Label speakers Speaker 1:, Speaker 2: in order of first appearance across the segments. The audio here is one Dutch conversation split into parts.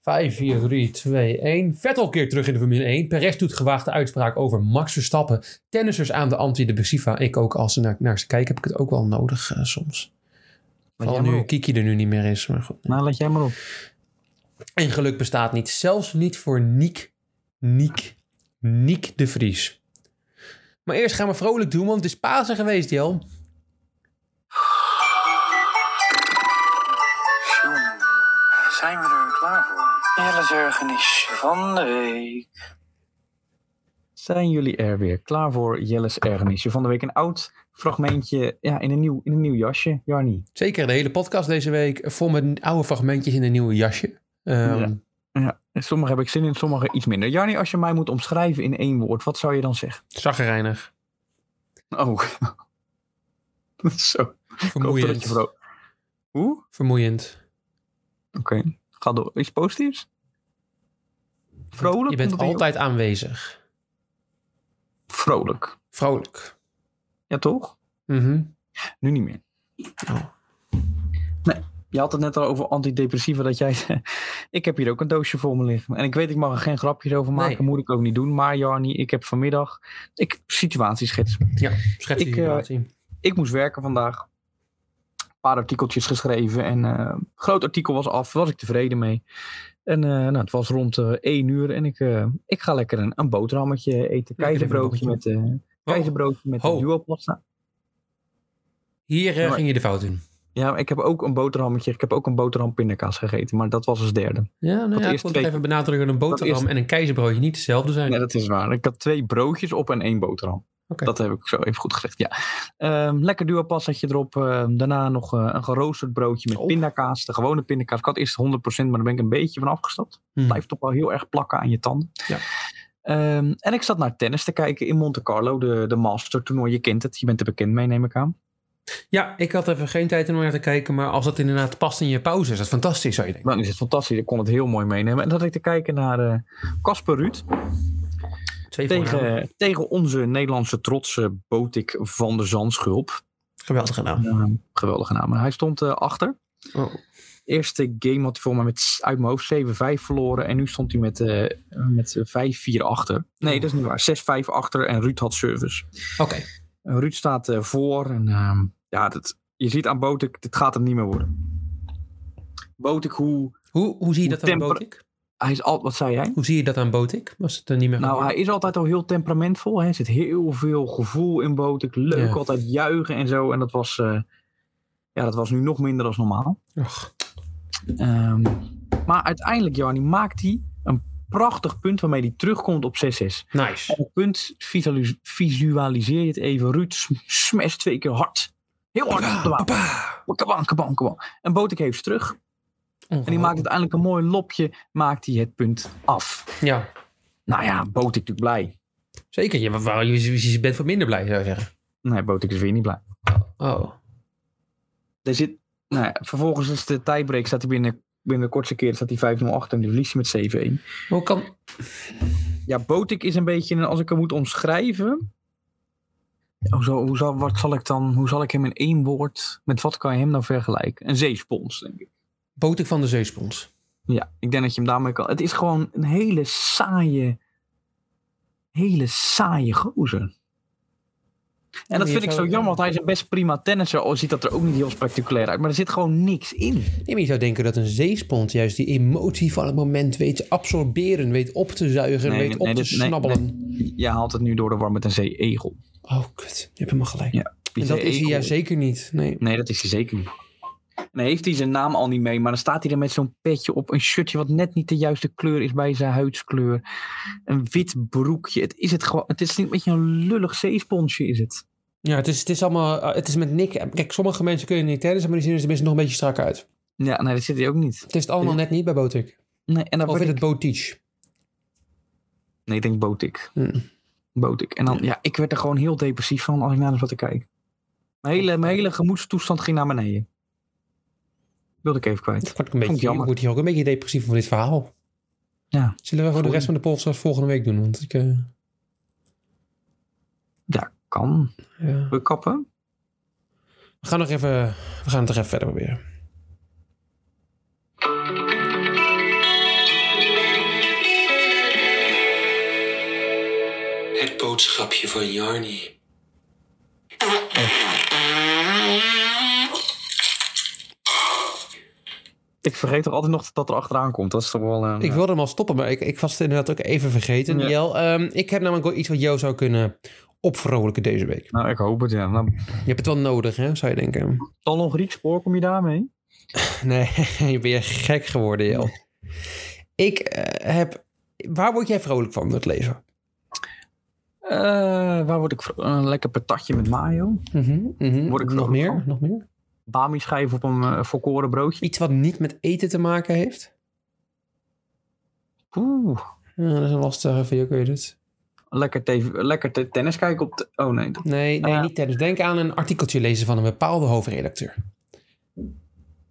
Speaker 1: 5, 4, 3, 2, 1. Vettel keert terug in de Formule 1. Perez doet gewaagde uitspraak over Max Verstappen. Tennissers aan de antidepressiva. Ik ook, als ze naar, naar ze kijken, heb ik het ook wel nodig eh, soms.
Speaker 2: Laat
Speaker 1: Al
Speaker 2: jij maar
Speaker 1: nu
Speaker 2: op.
Speaker 1: Kiki er nu niet meer is. Maar goed.
Speaker 2: Nou, laat jij maar op.
Speaker 1: En geluk bestaat niet. Zelfs niet voor Niek, Niek, Niek de Vries. Maar eerst gaan we vrolijk doen, want het is Pasen geweest, Jel.
Speaker 3: Jongen, zijn we er klaar voor? Jelle Zergenisje van de week.
Speaker 2: Zijn jullie er weer klaar voor Jelle's ergernisje? Van de week een oud fragmentje ja, in, een nieuw, in een nieuw jasje, Jarnie.
Speaker 1: Zeker de hele podcast deze week. Vol met oude fragmentjes in een nieuwe jasje. Ehm,
Speaker 2: Ja. En Sommige heb ik zin in, sommige iets minder. Jarnie, als je mij moet omschrijven in één woord, wat zou je dan zeggen?
Speaker 1: Zaggerijnig.
Speaker 2: Oh. Zo. Ik hoop dat
Speaker 1: Vermoeiend.
Speaker 2: je vro- Hoe? Oké,
Speaker 1: Vermoeiend.
Speaker 2: ga door. Iets positiefs? Vrolijk?
Speaker 1: Je bent
Speaker 2: Komt dat in
Speaker 1: altijd aanwezig.
Speaker 2: Vrolijk.
Speaker 1: Vrolijk.
Speaker 2: Ja, toch?
Speaker 1: Mhm.
Speaker 2: Nu niet meer.
Speaker 1: Oh.
Speaker 2: Nee, je had het net al over antidepressiva. Dat jij zei, ik heb hier ook een doosje voor me liggen. En ik weet, ik mag er geen grapjes over maken.
Speaker 1: Nee.
Speaker 2: Moet ik ook niet doen. Maar Jarnie, ik heb vanmiddag... Ik, situatieschets.
Speaker 1: Ja, schets die
Speaker 2: Ik, eh,
Speaker 1: situatie.
Speaker 2: Ik moest werken vandaag. Een paar artikeltjes geschreven. En eh, een groot artikel was af. was ik tevreden mee. En eh, nou, het was rond eh 1 uur. En ik, eh, ik ga lekker een, een boterhammetje
Speaker 1: Lekker
Speaker 2: eten.
Speaker 1: een
Speaker 2: Keizerbroodje met, eh
Speaker 1: Oh,
Speaker 2: keizerbroodje met
Speaker 1: Ho.
Speaker 2: duopasta.
Speaker 1: hier eh,
Speaker 2: maar-
Speaker 1: ging je de fout in.
Speaker 2: Ja, maar ik heb ook een boterhammetje. Ik heb ook een boterham pindakaas gegeten. Maar dat was als derde.
Speaker 1: Ja, nou ja, ik
Speaker 2: eerst
Speaker 1: wil
Speaker 2: twee-
Speaker 1: nog even benadrukken dat een boterham
Speaker 2: eerst-
Speaker 1: en een keizerbroodje niet hetzelfde zijn.
Speaker 2: Ja, dat is waar. Ik had twee broodjes op en één boterham.
Speaker 1: Oké.
Speaker 2: Dat heb ik zo even goed gezegd, ja. Ehm, lekker duopastaatje erop. Ehm, daarna nog eh, een geroosterd broodje met
Speaker 1: Oh.
Speaker 2: pindakaas. De gewone pindakaas. Ik had eerst 100%, maar daar ben ik een beetje van afgestapt.
Speaker 1: Hm.
Speaker 2: Blijft toch wel heel erg plakken aan je tanden.
Speaker 1: Ja.
Speaker 2: Ehm, en ik zat naar tennis te kijken in Monte Carlo. De, de master toernooi. Je kent het. Je bent er bekend mee, neem ik aan.
Speaker 1: Ja, ik had even geen tijd om naar te kijken, maar als dat inderdaad past in je pauze, is dat fantastisch, zou je denken.
Speaker 2: Dan Nou, is het fantastisch. Ik kon het heel mooi meenemen. En dan had ik te kijken naar eh, Casper Ruud.
Speaker 1: Twee voornamen.
Speaker 2: tegen, tegen onze Nederlandse trotse Botik van de Zandschulp.
Speaker 1: Geweldig gedaan.
Speaker 2: Ehm, geweldige naam. Hij stond eh, achter.
Speaker 1: Oh.
Speaker 2: Eerste game had hij voor mij met, s- uit mijn hoofd 7-5 verloren. En nu stond hij met, eh, met 5-4 achter. Nee, dat is niet waar. 6-5 achter en Ruud had service.
Speaker 1: Oké,
Speaker 2: En Ruud staat eh, voor. En ehm, ja, dat, je ziet aan Botik, dit gaat hem niet meer worden. Botik, hoe...
Speaker 1: hoe, hoe zie je
Speaker 2: Hoe
Speaker 1: dat aan
Speaker 2: temper-
Speaker 1: Botik?
Speaker 2: Hij is al, wat zei jij?
Speaker 1: Hoe zie je dat aan Botik? Was het er niet meer
Speaker 2: Nou,
Speaker 1: geworden?
Speaker 2: hij is altijd al heel temperamentvol. Hè. Er zit heel veel gevoel in Botik. Leuk,
Speaker 1: Ja.
Speaker 2: altijd juichen en zo. En dat was, eh, ja, dat was nu nog minder dan normaal.
Speaker 1: Och,
Speaker 2: Ehm, maar uiteindelijk, Johanny, maakt hij een prachtig punt waarmee hij terugkomt op 6-6.
Speaker 1: nice.
Speaker 2: Op het punt visualis- visualiseer je het even. Ruud sm- smash twee keer hard. Heel hard. op de baan.
Speaker 1: Papa.
Speaker 2: Kabang, kabang, kabang. En Botik heeft ze terug. En die maakt uiteindelijk een mooi lopje. Maakt hij het punt af.
Speaker 1: Ja,
Speaker 2: Nou ja, Botik natuurlijk blij.
Speaker 1: zeker. Je, waar- je, je bent voor minder blij, zou je zeggen.
Speaker 2: Nee, Botik is weer niet blij.
Speaker 1: Oh,
Speaker 2: Er zit, nou ja, vervolgens is de tiebreak, staat hij binnen, binnen de kortste keer, staat hij 5-0 achter en die verliest hij met 7-1.
Speaker 1: hoe kan...
Speaker 2: Ja, Botik is een beetje, een- als ik hem moet omschrijven. Hoe zal, Oh, hoe zal, wat zal ik dan, hoe zal ik hem in één woord, met wat kan je hem nou vergelijken? Een zeespons, denk ik.
Speaker 1: Botik van de Zeespons.
Speaker 2: Ja, ik denk dat je hem daarmee kan. Het is gewoon een hele saaie, hele saaie gozer. En dat
Speaker 1: je
Speaker 2: vind ik
Speaker 1: zou-
Speaker 2: zo jammer, want hij is een best prima tennisser. Al ziet dat er ook niet heel spectaculair uit. Maar er zit gewoon niks in.
Speaker 1: Nee, maar je zou denken dat een zeespons juist die emotie van het moment weet te absorberen, weet op te zuigen,
Speaker 2: Nee,
Speaker 1: weet op
Speaker 2: nee,
Speaker 1: te
Speaker 2: dat- nee,
Speaker 1: snabbelen.
Speaker 2: Je haalt het nu door de war met een zee-egel.
Speaker 1: Oh, kut. Je hebt helemaal gelijk.
Speaker 2: Ja, E
Speaker 1: en dat is hij ja zeker niet. Nee.
Speaker 2: Nee, dat is hij zeker niet. Nee, heeft hij zijn naam al niet mee, maar dan staat hij er met zo'n petje op. Een shirtje wat net niet de juiste kleur is bij zijn huidskleur. Een wit broekje. Het is, het gewoon, het is een beetje een lullig zeesponsje, is het?
Speaker 1: Ja, het is, het is allemaal... eh, Het is met Nick... Kijk, sommige mensen kunnen niet tennissen, maar die zien er tenminste dus nog een beetje strak uit.
Speaker 2: Ja, nee, dat zit hij ook niet.
Speaker 1: Het is het allemaal
Speaker 2: Ja.
Speaker 1: net niet bij Botik.
Speaker 2: Nee, en dan
Speaker 1: Of
Speaker 2: wordt
Speaker 1: in
Speaker 2: ik,
Speaker 1: het Botic.
Speaker 2: nee, ik denk Botik.
Speaker 1: Hm.
Speaker 2: Botik. En dan, ja, ik werd er gewoon heel depressief van als ik naar hem zat te kijken. Mijn hele, mijn hele gemoedstoestand ging naar beneden. Wilde ik even kwijt.
Speaker 1: Dat word ik een
Speaker 2: Vond ik
Speaker 1: beetje... Ik
Speaker 2: jammer.
Speaker 1: word hier ook een beetje depressief van dit verhaal.
Speaker 2: Ja.
Speaker 1: Zullen we voor de
Speaker 2: Goed.
Speaker 1: rest van de podcast volgende week doen? Want ik... eh,
Speaker 2: Ja, kan.
Speaker 1: ja.
Speaker 2: We kappen.
Speaker 1: We gaan nog even... We gaan het nog even verder proberen.
Speaker 3: Jelle
Speaker 4: boodschapje van Jarni.
Speaker 2: Ik vergeet toch altijd nog dat er achteraan komt. Dat is toch wel... eh,
Speaker 1: Ik wilde hem al stoppen, maar ik, ik was het inderdaad ook even vergeten,
Speaker 2: Ja.
Speaker 1: Jel. Ehm, ik heb namelijk wel iets wat jou zou kunnen opvrolijken deze week.
Speaker 2: Nou, ik hoop het, ja. Nou,
Speaker 1: Je hebt het wel nodig, hè, zou je denken.
Speaker 2: dan nog Griekspoor, kom je daarmee?
Speaker 1: Nee, je bent echt gek geworden, Jel. Ik eh, heb... Waar word jij vrolijk van in het leven?
Speaker 2: Eh, waar word ik... vro- Een lekker patatje met mayo.
Speaker 1: Mhm,
Speaker 2: Word ik
Speaker 1: nog
Speaker 2: vrolijk
Speaker 1: meer?
Speaker 2: van?
Speaker 1: Nog meer?
Speaker 2: Bami schijf op een eh, volkoren broodje.
Speaker 1: Iets wat niet met eten te maken heeft?
Speaker 2: Oeh.
Speaker 1: Ja, dat is een lastige voor jou, kun je dit.
Speaker 2: Lekker, tv lekker te- tennis kijken op de... Oh nee, dat-
Speaker 1: Nee, nee
Speaker 2: Ah.
Speaker 1: niet tijdens. Denk aan een artikeltje lezen van een bepaalde hoofdredacteur.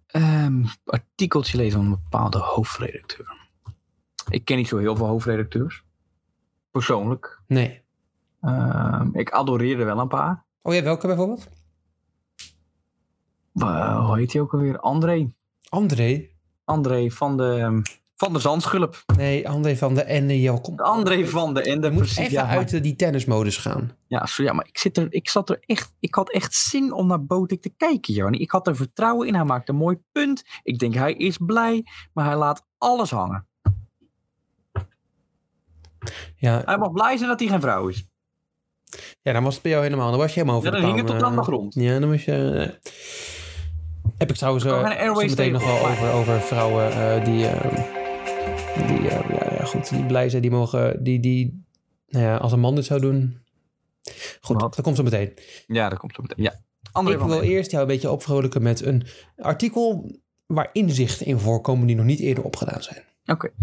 Speaker 2: Ehm, artikeltje lezen van een bepaalde hoofdredacteur. Ik ken niet zo heel veel hoofdredacteurs. Persoonlijk.
Speaker 1: Nee.
Speaker 2: Ehm, ik adoreerde wel een paar.
Speaker 1: Oh ja, welke bijvoorbeeld?
Speaker 2: Eh, hoe heet hij ook alweer? André.
Speaker 1: André?
Speaker 2: André van de, ehm, van de Zandschulp.
Speaker 1: Nee, André van de Ende. Jel, kom.
Speaker 2: André van de Ende.
Speaker 1: Je moet
Speaker 2: precies,
Speaker 1: even
Speaker 2: ja, maar-
Speaker 1: uit eh, die tennismodus gaan.
Speaker 2: Ja, zo, ja maar ik, zit er, ik zat er echt... Ik had echt zin om naar Botik te kijken, Jarny. Ik had er vertrouwen in. Hij maakt een mooi punt. Ik denk, hij is blij. Maar hij laat alles hangen.
Speaker 1: Ja,
Speaker 2: Hij mag blij zijn dat hij geen vrouw is.
Speaker 1: ja, dan was het bij jou helemaal. Dan was je helemaal
Speaker 2: Ja,
Speaker 1: over
Speaker 2: dan
Speaker 1: de
Speaker 2: hing het
Speaker 1: pan,
Speaker 2: tot aan de
Speaker 1: eh,
Speaker 2: grond.
Speaker 1: Ja, dan was je... eh, heb ik trouwens
Speaker 2: kan
Speaker 1: eh,
Speaker 2: geen Airways
Speaker 1: zo meteen nog
Speaker 2: tegen
Speaker 1: wel
Speaker 2: opmaken.
Speaker 1: over, over vrouwen eh, die... eh, die eh, ja, ja, goed, die blij zijn, die mogen... Die, die, nou ja, als een man dit zou doen... Goed,
Speaker 2: Wat?
Speaker 1: dat komt zo meteen.
Speaker 2: Ja, dat komt zo meteen. Ja. André
Speaker 1: Ik
Speaker 2: van de
Speaker 1: wil
Speaker 2: Ende.
Speaker 1: eerst jou een beetje opvrolijken met een artikel waar inzichten in voorkomen die nog niet eerder opgedaan zijn.
Speaker 2: Oké.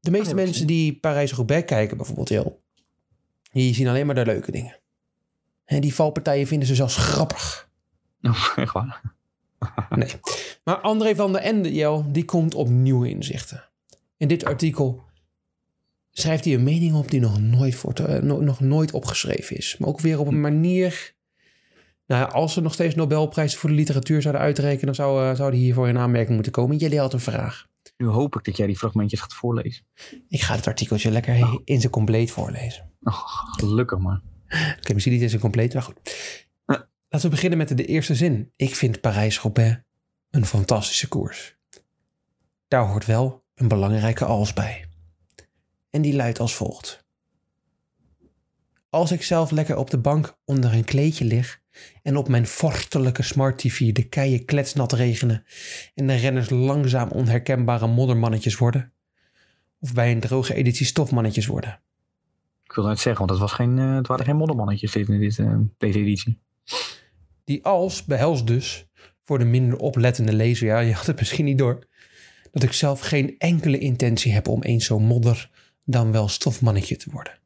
Speaker 1: De meeste
Speaker 2: heb ik
Speaker 1: mensen die Parijs-Roubaix kijken bijvoorbeeld heel, die zien alleen maar de leuke dingen. En die valpartijen vinden ze zelfs grappig.
Speaker 2: Echt waar.
Speaker 1: Nee. Maar André van der Ende, Jel, die komt op nieuwe inzichten. In dit artikel schrijft hij een mening op die nog nooit, voor te- eh, no- nog nooit opgeschreven is. Maar ook weer op een manier... Nou, ja, als ze nog steeds Nobelprijzen voor de literatuur zouden uitrekenen... dan zou, eh, zou die hiervoor in aanmerking moeten komen. Jullie had een vraag.
Speaker 2: Nu hoop ik dat jij die fragmentjes gaat voorlezen.
Speaker 1: Ik ga het artikeltje lekker he- in zijn compleet voorlezen.
Speaker 2: Oh, gelukkig maar.
Speaker 1: Oké, misschien niet in zijn compleet, maar goed. Laten we beginnen met de eerste zin. Ik vind Parijs-Roubaix een fantastische koers. Daar hoort wel een belangrijke als bij. En die luidt als volgt. Als ik zelf lekker op de bank onder een kleedje lig en op mijn vorstelijke smart TV de keien kletsnat regenen en de renners langzaam onherkenbare moddermannetjes worden, of bij een droge editie stofmannetjes worden,
Speaker 2: Ik wil net zeggen, want het, was geen, eh, het waren geen moddermannetjes dit, dit, eh, deze editie.
Speaker 1: Die als behelst dus, voor de minder oplettende lezer, ja, je had het misschien niet door, dat ik zelf geen enkele intentie heb om eens zo'n modder dan wel stofmannetje te worden.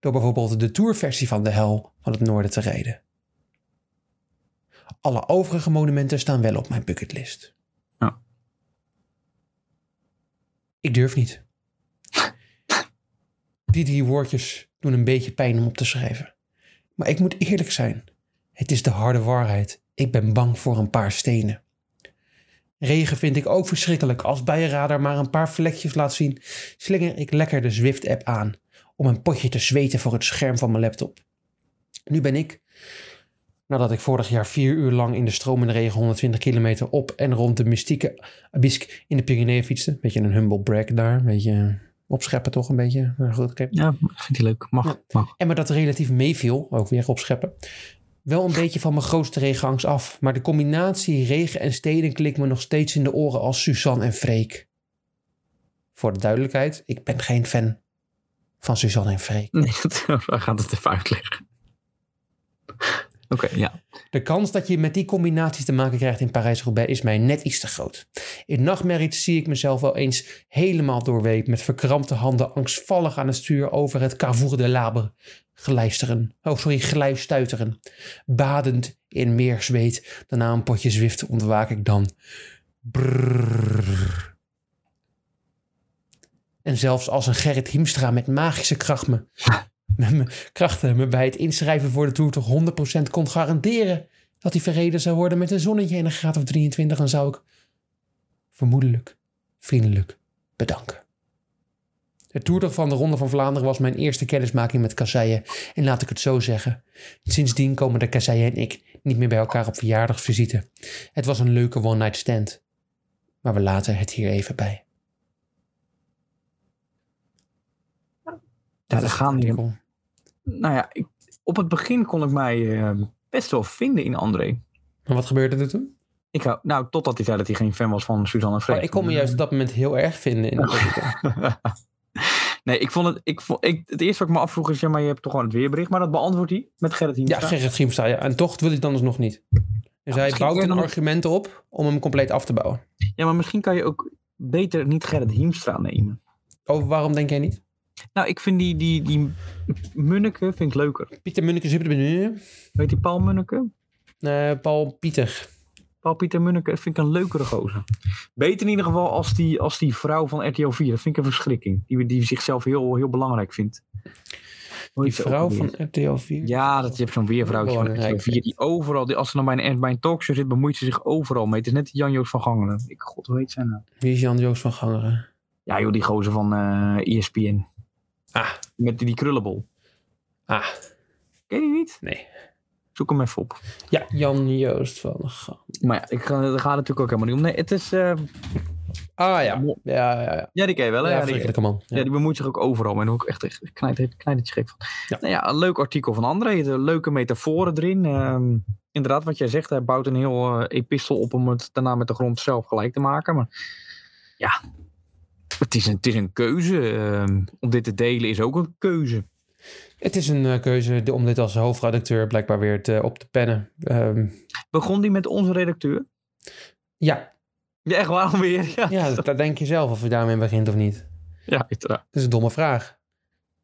Speaker 1: Door bijvoorbeeld de tourversie van de hel van het noorden te rijden. Alle overige monumenten staan wel op mijn bucketlist.
Speaker 2: Ja.
Speaker 1: Ik durf niet. Die drie woordjes doen een beetje pijn om op te schrijven. Maar ik moet eerlijk zijn. Het is de harde waarheid. Ik ben bang voor een paar stenen. Regen vind ik ook verschrikkelijk. Als bijradar maar een paar vlekjes laat zien, slinger ik lekker de Zwift-app aan om een potje te zweten voor het scherm van mijn laptop. Nu ben ik, nadat ik vorig jaar vier uur lang in de stromende regen 120 kilometer op en rond de mystieke Abisk in de Pyreneeën fietste, beetje een humble brag daar, een beetje opscheppen toch een beetje. Nou goed, oké.
Speaker 2: Ja, vind hij leuk. Mag, mag.
Speaker 1: En maar dat relatief meeviel, ook weer opscheppen. Wel een beetje van mijn grootste regenangst af. Maar de combinatie regen en steden klikt me nog steeds in de oren als Suzanne en Freek. Voor de duidelijkheid, ik ben geen fan van Suzanne en Freek.
Speaker 2: Nee, we gaan het even uitleggen. Oké, ja.
Speaker 1: De kans dat je met die combinaties te maken krijgt in Parijs-Roubaix is mij net iets te groot. In nachtmerries zie ik mezelf wel eens helemaal doorweekt met verkrampte handen angstvallig aan het stuur over het Cavour de Labre glijsteren. Oh, sorry, glijstuiteren. Badend in meer zweet, daarna een potje zwift ontwaak ik dan. Brrrr. En zelfs als een Gerrit Hiemstra met magische kracht me, met me- krachten me bij het inschrijven voor de Tour toch 100% kon garanderen dat hij verreden zou worden met een zonnetje en een graad of 23, dan zou ik vermoedelijk vriendelijk bedanken. De toertocht van de Ronde van Vlaanderen was mijn eerste kennismaking met kasseien. En laat ik het zo zeggen. Sindsdien komen de kasseien en ik niet meer bij elkaar op verjaardagsvisite. Het was een leuke one-night stand. Maar we laten het hier even bij.
Speaker 2: Ja,
Speaker 1: is
Speaker 2: daar
Speaker 1: het
Speaker 2: gaan we.
Speaker 1: artikel.
Speaker 2: Nou ja, ik- op het begin kon ik mij eh, best wel vinden in André.
Speaker 1: Maar wat gebeurde er toen?
Speaker 2: Ik hou, nou, totdat hij zei dat hij geen fan was van Suzanne en Freek.
Speaker 1: Oh, ik kon me juist op dat moment heel erg vinden in het artikel.
Speaker 2: nee, ik vond het. Ik vond, ik, het eerste wat ik me afvroeg is: ja, maar je hebt toch gewoon het weerbericht? Maar dat beantwoordt hij met Gerrit
Speaker 1: Ja,
Speaker 2: Hiemstra.
Speaker 1: Gerrit Giemstra. Ja. En toch wil hij het anders nog niet. Dus hij
Speaker 2: misschien
Speaker 1: bouwt
Speaker 2: kun
Speaker 1: een
Speaker 2: je nog-
Speaker 1: argument op om hem compleet af te bouwen.
Speaker 2: Ja, maar misschien kan je ook beter niet Gerrit Hiemstra nemen.
Speaker 1: Oh, waarom denk jij niet?
Speaker 2: Nou, ik vind die, die, die Munneke vind ik leuker.
Speaker 1: Pieter Munneke zit er nu.
Speaker 2: Weet die Paul Munneke?
Speaker 1: Eh, Paul Pieter.
Speaker 2: Paul Pieter Munneke dat vind ik een leukere gozer. Beter in ieder geval als die, als die vrouw van RTL 4. Dat vind ik een verschrikking. Die, die zichzelf heel, heel belangrijk vindt. Hoe
Speaker 1: Die
Speaker 2: heet ze ook
Speaker 1: vrouw
Speaker 2: alweer?
Speaker 1: van RTL 4.
Speaker 2: Ja, dat je hebt zo'n weervrouwtje van
Speaker 1: Belangrijk
Speaker 2: RTL 4 die overal, die, als ze dan bij een, bij een talkshow zit, bemoeit ze zich overal mee. Het is net die Jan-Joos van Gangelen. Ik, god, hoe heet zij nou?
Speaker 1: Wie is Jan-Joost van Gangeren?
Speaker 2: Ja joh, die gozer van eh ESPN.
Speaker 1: Ah.
Speaker 2: Met die, die krullenbol.
Speaker 1: Ah,
Speaker 2: Ken je die niet?
Speaker 1: nee.
Speaker 2: Zoek hem even op.
Speaker 1: Ja, Jan-Joost van Gangeren.
Speaker 2: Maar ja, ik ga, daar gaat het natuurlijk ook helemaal niet om. Nee, het is... eh,
Speaker 1: Ah ja. Ja, ja, ja.
Speaker 2: ja, die ken je wel hè?
Speaker 1: Ja,
Speaker 2: Ja, die-
Speaker 1: verschrikkelijke man.
Speaker 2: Ja.
Speaker 1: Ja.
Speaker 2: die bemoeit zich ook overal mee. Daar word ik echt echt knijt- knijtertje gek van.
Speaker 1: Ja.
Speaker 2: Nou ja, een leuk artikel van André. de Leuke metaforen erin. Ehm, inderdaad, wat jij zegt. Hij bouwt een heel eh, epistel op om het daarna met de grond zelf gelijk te maken. Maar ja, het is een, het is een keuze. Ehm, om dit te delen is ook een keuze.
Speaker 1: Het is een eh, keuze de- om dit als hoofdredacteur blijkbaar weer te, op te pennen. Ehm,
Speaker 2: Begon die met onze redacteur?
Speaker 1: ja,
Speaker 2: Ja, echt waarom weer? Ja,
Speaker 1: ja dat, dat denk je zelf of je daarmee begint of niet.
Speaker 2: ja uiteraard.
Speaker 1: Dat is een domme vraag.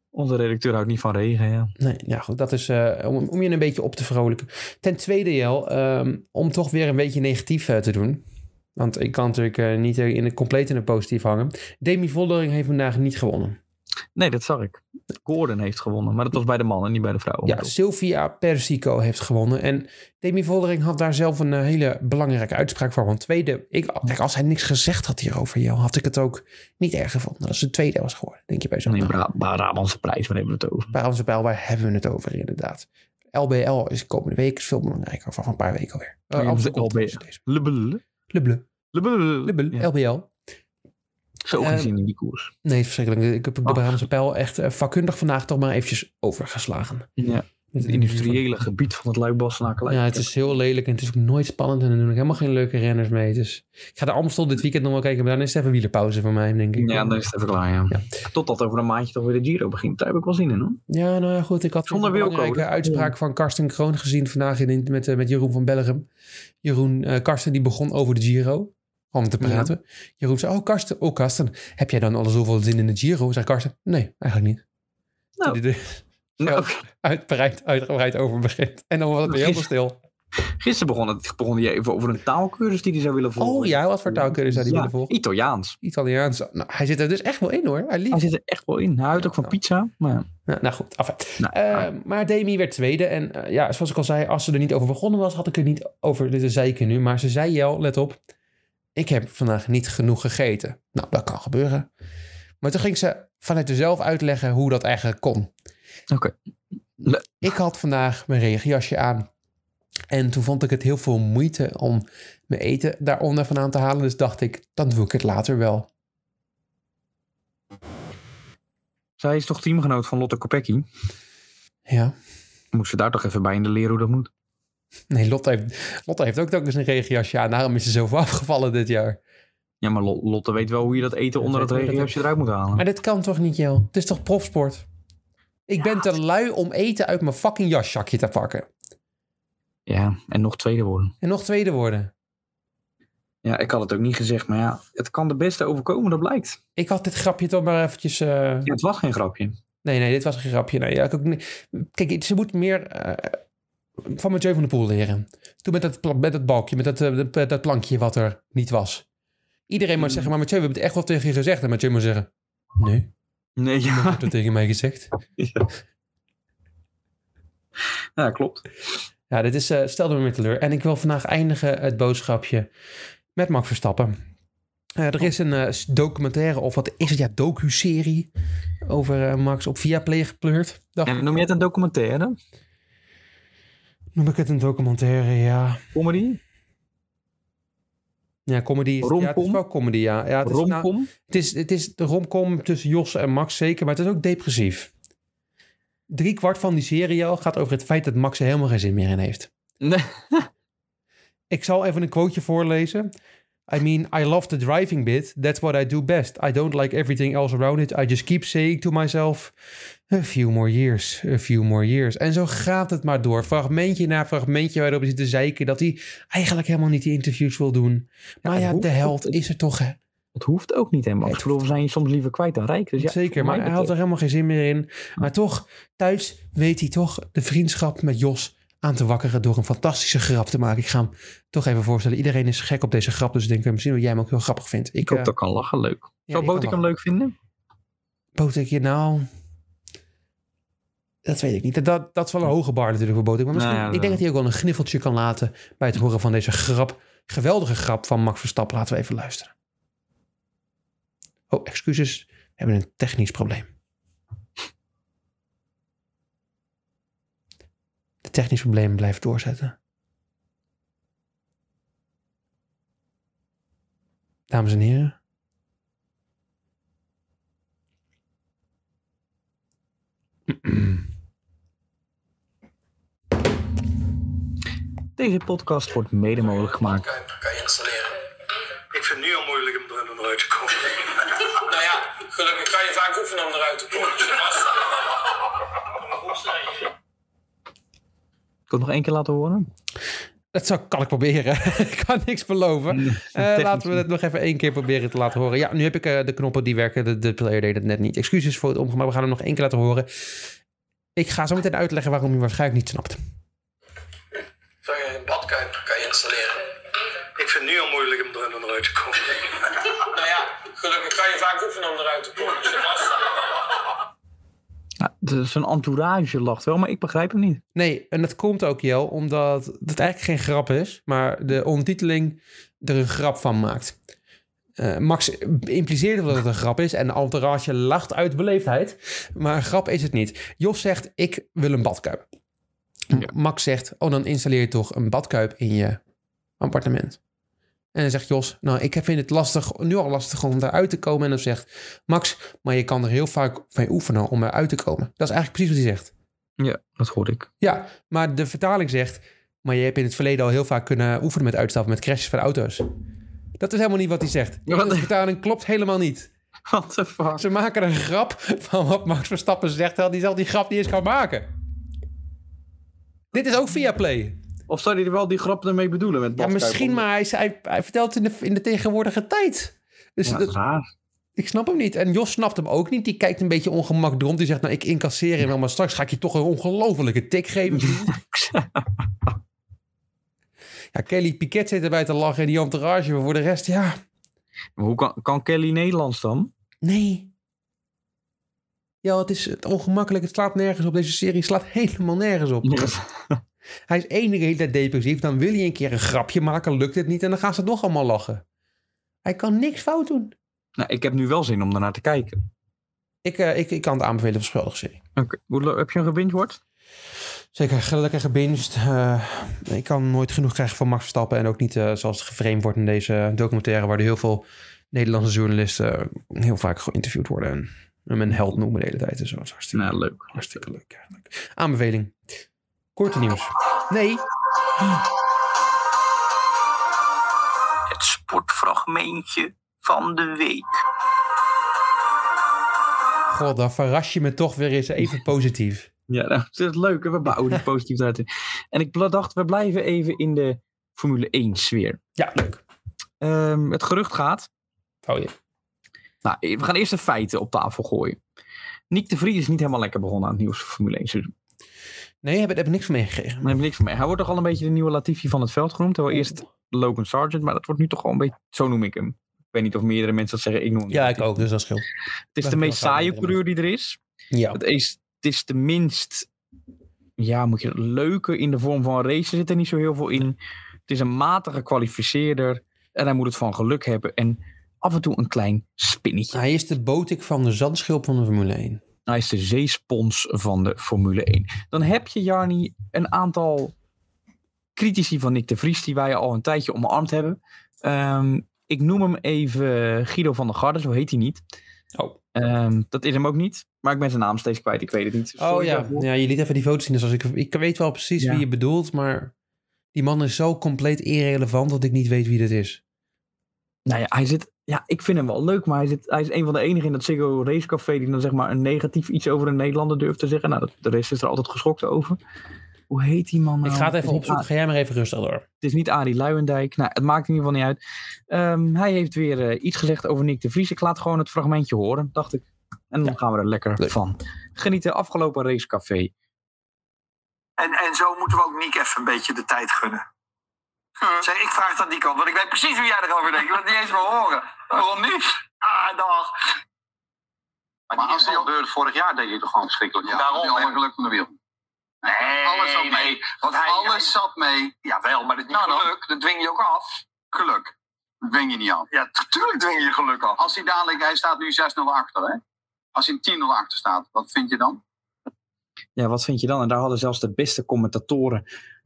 Speaker 2: Onze redacteur houdt niet van regen. Ja.
Speaker 1: Nee, ja goed, dat is eh, om, om je een beetje op te vrolijken. Ten tweede, Jel, ehm, om toch weer een beetje negatief eh, te doen. Want ik kan natuurlijk eh, niet eh, in het compleet in het positief hangen. Demi Vollering heeft vandaag niet gewonnen.
Speaker 2: Nee, dat zag ik. Gordon heeft gewonnen. Maar dat was bij de mannen, niet bij de vrouwen.
Speaker 1: Ja, Sylvia Persico heeft gewonnen. En Demi Vollering had daar zelf een eh, hele belangrijke uitspraak voor. Want tweede, ik, kijk, als hij niks gezegd had hierover, Jel, had ik het ook niet erg gevonden. Als het tweede was geworden, denk je bij zo'n
Speaker 2: Nee, Bra- Bra- Brabantse prijs, waar hebben we het over?
Speaker 1: Bij onze pijl, waar hebben we het over inderdaad? LBL is komende week is veel belangrijker. Of over een paar weken alweer.
Speaker 2: Oh,
Speaker 1: Eh
Speaker 2: ja,
Speaker 1: Amsterdam
Speaker 2: LBL.
Speaker 1: is deze.
Speaker 2: Lubbel.
Speaker 1: Lubbele,
Speaker 2: Lubbel. eh,
Speaker 1: lubbele,
Speaker 2: Ja,
Speaker 1: LBL.
Speaker 2: Zo
Speaker 1: Ehm,
Speaker 2: gezien in die koers.
Speaker 1: Nee, het is verschrikkelijk. Ik heb de
Speaker 2: Ach.
Speaker 1: Brabantse pijl echt eh, vakkundig vandaag toch maar eventjes overgeslagen.
Speaker 2: Ja.
Speaker 1: Met
Speaker 2: Het industriële gebied van het Luikbassenaar.
Speaker 1: Ja, het is heel lelijk en het is ook nooit spannend. En er doen ook helemaal geen leuke renners mee. Dus ik ga de Amstel dit weekend nog wel kijken. Maar dan is het even wielerpauze voor mij, denk ik.
Speaker 2: Ja, dan is het even klaar, ja. Totdat over een maandje toch weer de Giro begint. Daar heb ik wel zin in, hoor.
Speaker 1: Ja, nou ja, goed. Ik had
Speaker 2: Zonder
Speaker 1: een
Speaker 2: Wilco,
Speaker 1: belangrijke
Speaker 2: hè?
Speaker 1: uitspraak van Karsten Kroon gezien vandaag in, met, eh, met Jeroen van Bellegem. Jeroen, eh, Karsten die begon over de Giro. Om te
Speaker 2: Ja.
Speaker 1: praten. Jeroen zei, oh Karsten, oh Karsten, heb jij dan al zoveel zin in de Giro? Zegt Karsten, nee, eigenlijk niet.
Speaker 2: Nou.
Speaker 1: Die er
Speaker 2: Nou,
Speaker 1: uitbreid, uitgebreid over begint. En dan was het weer helemaal stil.
Speaker 2: gisteren begon, het, begon hij even over een taalkursus die hij zou willen volgen.
Speaker 1: Oh ja, wat voor taalkunde zou die
Speaker 2: Ja,
Speaker 1: willen volgen?
Speaker 2: Italiaans.
Speaker 1: Italiaans. Nou, hij zit er dus echt wel in hoor. Hij lief.
Speaker 2: Hij zit er echt wel in. Hij houdt ook van pizza. Maar ja.
Speaker 1: Nou, nou goed, enfin.
Speaker 2: Nou,
Speaker 1: Eh,
Speaker 2: ah.
Speaker 1: Maar Demi werd tweede. En eh, ja, zoals ik al zei, als ze er niet over begonnen was, had ik er niet over. Dit zei ik er nu. Maar ze zei Jel, let op. Ik heb vandaag niet genoeg gegeten. Nou, dat kan gebeuren. Maar toen ging ze vanuit zichzelf uitleggen hoe dat eigenlijk kon.
Speaker 2: Oké. Le-
Speaker 1: Ik had vandaag mijn regenjasje aan. En toen vond ik het heel veel moeite om mijn eten daaronder vandaan te halen. Dus dacht ik, dan doe ik het later wel.
Speaker 2: Zij is toch teamgenoot van Lotte Kopecky.
Speaker 1: Ja.
Speaker 2: Moet ze daar toch even bij in de leren hoe dat moet.
Speaker 1: Nee, Lotte heeft, Lotte heeft ook nog eens een regenjasje aan. Daarom is ze zoveel afgevallen dit jaar.
Speaker 2: Ja, maar Lo- Lotte weet wel hoe je dat eten
Speaker 1: Ja,
Speaker 2: onder
Speaker 1: zij
Speaker 2: het
Speaker 1: weet
Speaker 2: regenjasje eruit moet halen.
Speaker 1: Maar dit kan toch niet, Jel? Het is toch profsport? Ik ben te lui om eten uit mijn fucking jaszakje te pakken.
Speaker 2: Ja, en nog tweede worden.
Speaker 1: En nog tweede worden.
Speaker 2: Ja, ik had het ook niet gezegd, maar ja, het kan de beste overkomen, dat blijkt.
Speaker 1: Ik had dit grapje toch maar eventjes... eh,
Speaker 2: Ja, het was geen grapje.
Speaker 1: Nee, nee, dit was geen grapje. Nee, ja, ik ook niet- Kijk, ze moet meer eh, van Mathieu van der Poel leren. Toen met dat, pla- met dat balkje, met dat, eh, dat, dat plankje wat er niet was. Iedereen moet
Speaker 2: Mm.
Speaker 1: zeggen, maar Mathieu, we hebben het echt wel tegen je gezegd. En Mathieu moet zeggen, nee,
Speaker 2: Nee, ja.
Speaker 1: dat tegen mij gezegd.
Speaker 2: ja klopt.
Speaker 1: Ja, dit is, eh stelde me weer teleur. En ik wil vandaag eindigen het boodschapje met Max Verstappen. Eh,
Speaker 2: Oh.
Speaker 1: er is een eh, s- documentaire, of wat is het? Ja, docu-serie over eh, Max op Viaplay gepleurd. Dag,
Speaker 2: En noem je het een documentaire?
Speaker 1: noem ik het een documentaire, ja.
Speaker 2: Comedy?
Speaker 1: Ja, comedy. is- Ja, het is
Speaker 2: Romcom?
Speaker 1: wel comedy, ja. ja het, is, nou,
Speaker 2: Romcom?
Speaker 1: het, is, het is de romcom tussen Jos en Max zeker, maar het is ook depressief. Drie kwart van die serie al gaat over het feit dat Max er helemaal geen zin meer in heeft.
Speaker 2: Nee.
Speaker 1: Ik zal even een quoteje voorlezen. I mean, I love the driving bit. That's what I do best. I don't like everything else around it. I just keep saying to myself, a few more years, a few more years. En zo gaat het maar door. Fragmentje na fragmentje waarop hij zit te zeiken dat hij eigenlijk helemaal niet die interviews wil doen. Maar
Speaker 2: het
Speaker 1: ja,
Speaker 2: hoeft
Speaker 1: de held
Speaker 2: ook-
Speaker 1: is er toch. hè?
Speaker 2: Het hoeft ook niet helemaal.
Speaker 1: Nee,
Speaker 2: Ik
Speaker 1: het
Speaker 2: bedoel, we zijn je soms liever kwijt dan rijk. Dus ja,
Speaker 1: Zeker,
Speaker 2: voor
Speaker 1: maar
Speaker 2: mij
Speaker 1: hij had er
Speaker 2: betreft-
Speaker 1: helemaal geen zin meer in. Maar toch, thuis weet hij toch de vriendschap met Jos aan te wakkeren door een fantastische grap te maken. Ik ga hem toch even voorstellen. Iedereen is gek op deze grap, dus ik denk eh, misschien dat jij hem ook heel grappig vindt.
Speaker 2: Ik hoop
Speaker 1: eh,
Speaker 2: dat ik kan lachen, leuk.
Speaker 1: ja,
Speaker 2: Zou
Speaker 1: ik
Speaker 2: Botik
Speaker 1: kan
Speaker 2: hem leuk vinden?
Speaker 1: Botek, je nou... Dat weet ik niet. Dat, dat is wel een hoge bar natuurlijk voor Botek. Maar misschien,
Speaker 2: Nou ja,
Speaker 1: ik denk
Speaker 2: nou.
Speaker 1: dat hij ook wel een gniffeltje kan laten bij het horen van deze grap. Geweldige grap van Max Verstappen. Laten we even luisteren. Oh, excuses. We hebben een technisch probleem. De technisch probleem blijft doorzetten. Dames en heren.
Speaker 2: Deze podcast wordt mede mogelijk gemaakt.
Speaker 4: kan installeren. Ik vind het nu al moeilijk om er nog uit te komen. nou ja, gelukkig kan je vaak oefenen om eruit te komen.
Speaker 2: Ik wil het nog één keer laten horen.
Speaker 1: Dat zou, kan ik proberen. ik kan niks beloven. Eh,
Speaker 2: technisch
Speaker 1: laten we het nog even één keer proberen te laten horen. Ja, nu heb ik eh, de knoppen die werken. De, de player deed het net niet. Excuses voor het omgaan, maar we gaan hem nog één keer laten horen. Ik ga zo meteen uitleggen waarom je waarschijnlijk niet snapt.
Speaker 4: Zou je een badkuip kan je installeren? Ik vind het nu al moeilijk om er nog uit te komen. nou ja, gelukkig kan je vaak oefenen om eruit te komen.
Speaker 2: Ja, de- zijn entourage lacht wel, maar ik begrijp hem niet.
Speaker 1: Nee, en dat komt ook, Jel, omdat het eigenlijk geen grap is, maar de ondertiteling er een grap van maakt. Eh, Max impliceerde wel dat het een grap is en de entourage lacht uit beleefdheid, maar een grap is het niet. Jos zegt, ik wil een badkuip. Max zegt, oh, dan installeer je toch een badkuip in je appartement. En dan zegt Jos, nou, ik vind het lastig, nu al lastig om daaruit te komen. En dan zegt Max, maar je kan er heel vaak mee oefenen om eruit te komen. Dat is eigenlijk precies wat hij zegt.
Speaker 2: Ja, dat hoorde ik.
Speaker 1: Ja, maar de vertaling zegt... maar je hebt in het verleden al heel vaak kunnen oefenen met uitstappen... met crashes van auto's. Dat is helemaal niet wat hij zegt.
Speaker 2: Ja,
Speaker 1: De
Speaker 2: wat-
Speaker 1: vertaling klopt helemaal niet.
Speaker 2: What the fuck?
Speaker 1: Ze maken een grap van wat Max Verstappen zegt... terwijl die zelf die grap niet eens kan maken. Dit is ook via Play.
Speaker 2: Of zou hij er wel die grap ermee bedoelen? Met
Speaker 1: Ja,
Speaker 2: badkuip
Speaker 1: misschien,
Speaker 2: om?
Speaker 1: maar hij, hij, hij vertelt het in de, in de tegenwoordige tijd. Dus
Speaker 2: Ja, dat is
Speaker 1: dat,
Speaker 2: raar.
Speaker 1: ik snap hem niet. En Jos snapt hem ook niet. Die kijkt een beetje ongemak rond. Die zegt, nou, ik incasseer hem wel... maar straks ga ik je toch een ongelofelijke tik geven. Ja, Kelly Piquet zit erbij te lachen in die entourage. Maar voor de rest, ja,
Speaker 2: Maar Hoe kan, kan Kelly Nederlands dan?
Speaker 1: nee. Ja, het is het ongemakkelijk. Het slaat nergens op. Deze serie slaat helemaal nergens op. Hij is één de hele tijd depressief. Dan wil hij een keer een grapje maken, lukt het niet. En dan gaan ze nog allemaal lachen. Hij kan niks fout doen.
Speaker 2: Nou, ik heb nu wel zin om daarnaar te kijken.
Speaker 1: Ik, eh, ik, ik kan het aanbevelen voor schuldig serie.
Speaker 2: Oké, Hoe lo- Heb je een gebingeword?
Speaker 1: Zeker, gelukkig gebinged. Eh, ik kan nooit genoeg krijgen van Max Verstappen. En ook niet eh, zoals het geframed wordt in deze documentaire... waar er heel veel Nederlandse journalisten eh, heel vaak geïnterviewd worden... en hem een held noemen de hele tijd. en zo. Dat is hartstikke
Speaker 2: Nou, leuk.
Speaker 1: Hartstikke leuk eigenlijk. Aanbeveling. Korte nieuws. Nee,
Speaker 2: Het sportfragmentje van de week.
Speaker 1: god, dan verras je me toch weer eens even positief.
Speaker 2: Ja, nou, dat is leuk. hè? We bouwen die positief uit. En ik bla- dacht, we blijven even in de Formule 1 sfeer.
Speaker 1: Ja, leuk.
Speaker 2: Ehm, het gerucht gaat.
Speaker 1: Oh ja.
Speaker 2: Nou, we gaan eerst de feiten op tafel gooien. Nick de Vries is niet helemaal lekker begonnen aan het nieuws van Formule 1 seizoen.
Speaker 1: Nee, heb, heb ik niks van meegekregen.
Speaker 2: Daar heb ik niks van mee. Hij wordt toch al een beetje de nieuwe Latifi van het veld genoemd.
Speaker 1: Oh,
Speaker 2: Terwijl eerst Logan Sargent, maar dat wordt nu toch wel een beetje... Zo noem ik hem. Ik weet niet of meerdere mensen dat zeggen. Ik noem hem
Speaker 1: Ja,
Speaker 2: niet.
Speaker 1: ik ook, dus dat scheelt.
Speaker 2: Het is de
Speaker 1: Ben ik
Speaker 2: meest
Speaker 1: wel samen
Speaker 2: saaie
Speaker 1: met hem.
Speaker 2: coureur die er is.
Speaker 1: Ja.
Speaker 2: Oh. Het is, het is de minst... Ja, moet je dat leuke in de vorm van race zit er niet zo heel veel in. Het is een matige kwalificeerder. En hij moet het van geluk hebben. En af en toe een klein spinnetje.
Speaker 1: Hij is de botik van de zandschilp van de Formule 1.
Speaker 2: Hij is de zeespons van de Formule 1. Dan heb je, Jarni, een aantal critici van Nick de Vries... die wij al een tijdje omarmd hebben. Ehm, ik noem hem even Guido van der Garde, zo heet hij niet.
Speaker 1: Oh.
Speaker 2: Ehm, dat is hem ook niet, maar ik ben zijn naam steeds kwijt. Ik weet het niet.
Speaker 1: Oh
Speaker 2: Sorry
Speaker 1: ja.
Speaker 2: daarvoor.
Speaker 1: ja, je liet even die foto's zien. Dus als ik, ik weet wel precies
Speaker 2: Ja.
Speaker 1: wie je bedoelt, maar die man is zo compleet irrelevant dat ik niet weet wie dat is.
Speaker 2: Nou ja, hij zit, ja, ik vind hem wel leuk, maar hij, zit, hij is een van de enigen in dat Ziggo Race Café die dan zeg maar een negatief iets over een Nederlander durft te zeggen. Nou, dat- de rest is er altijd geschokt over. Hoe heet die man nou?
Speaker 1: dus ik ga het even
Speaker 2: is niet
Speaker 1: opzoeken.
Speaker 2: A-
Speaker 1: Ga jij maar even rustig door.
Speaker 2: het is niet Arie Luijendijk. Nou, het maakt in ieder geval niet uit. Ehm, hij heeft weer eh, iets gezegd over Nick de Vries. Ik laat gewoon het fragmentje horen, dacht ik. En dan gaan we er lekker
Speaker 1: Leuk.
Speaker 2: van. Genieten, afgelopen Race Café.
Speaker 5: En, en zo moeten we ook Niek even een beetje de tijd gunnen. Zeg, ik vraag het aan die kant, want ik weet precies hoe jij erover denkt. Ik wil het niet eens meer horen. Waarom niet? Ah, dag.
Speaker 6: Maar, als dat gebeurde vorig jaar, deed je toch gewoon verschrikkelijk. Ja,
Speaker 5: Daarom,
Speaker 6: Daarom, alle
Speaker 5: hè.
Speaker 6: geluk van de wereld.
Speaker 5: Nee,
Speaker 6: Alles zat mee.
Speaker 5: Want hij,
Speaker 6: Alles zat mee.
Speaker 5: Ja, Jawel, maar dat
Speaker 6: Nou dan.
Speaker 5: geluk, dat dwing je ook af.
Speaker 6: Geluk. Dat dwing je niet aan.
Speaker 5: Ja, tuurlijk dwing je geluk af.
Speaker 6: Als hij dadelijk, hij staat nu 6-0 achter, hè? Als hij 10-0 achter staat, wat vind je dan?
Speaker 2: Ja, wat vind je dan? En daar hadden zelfs de beste commentatoren,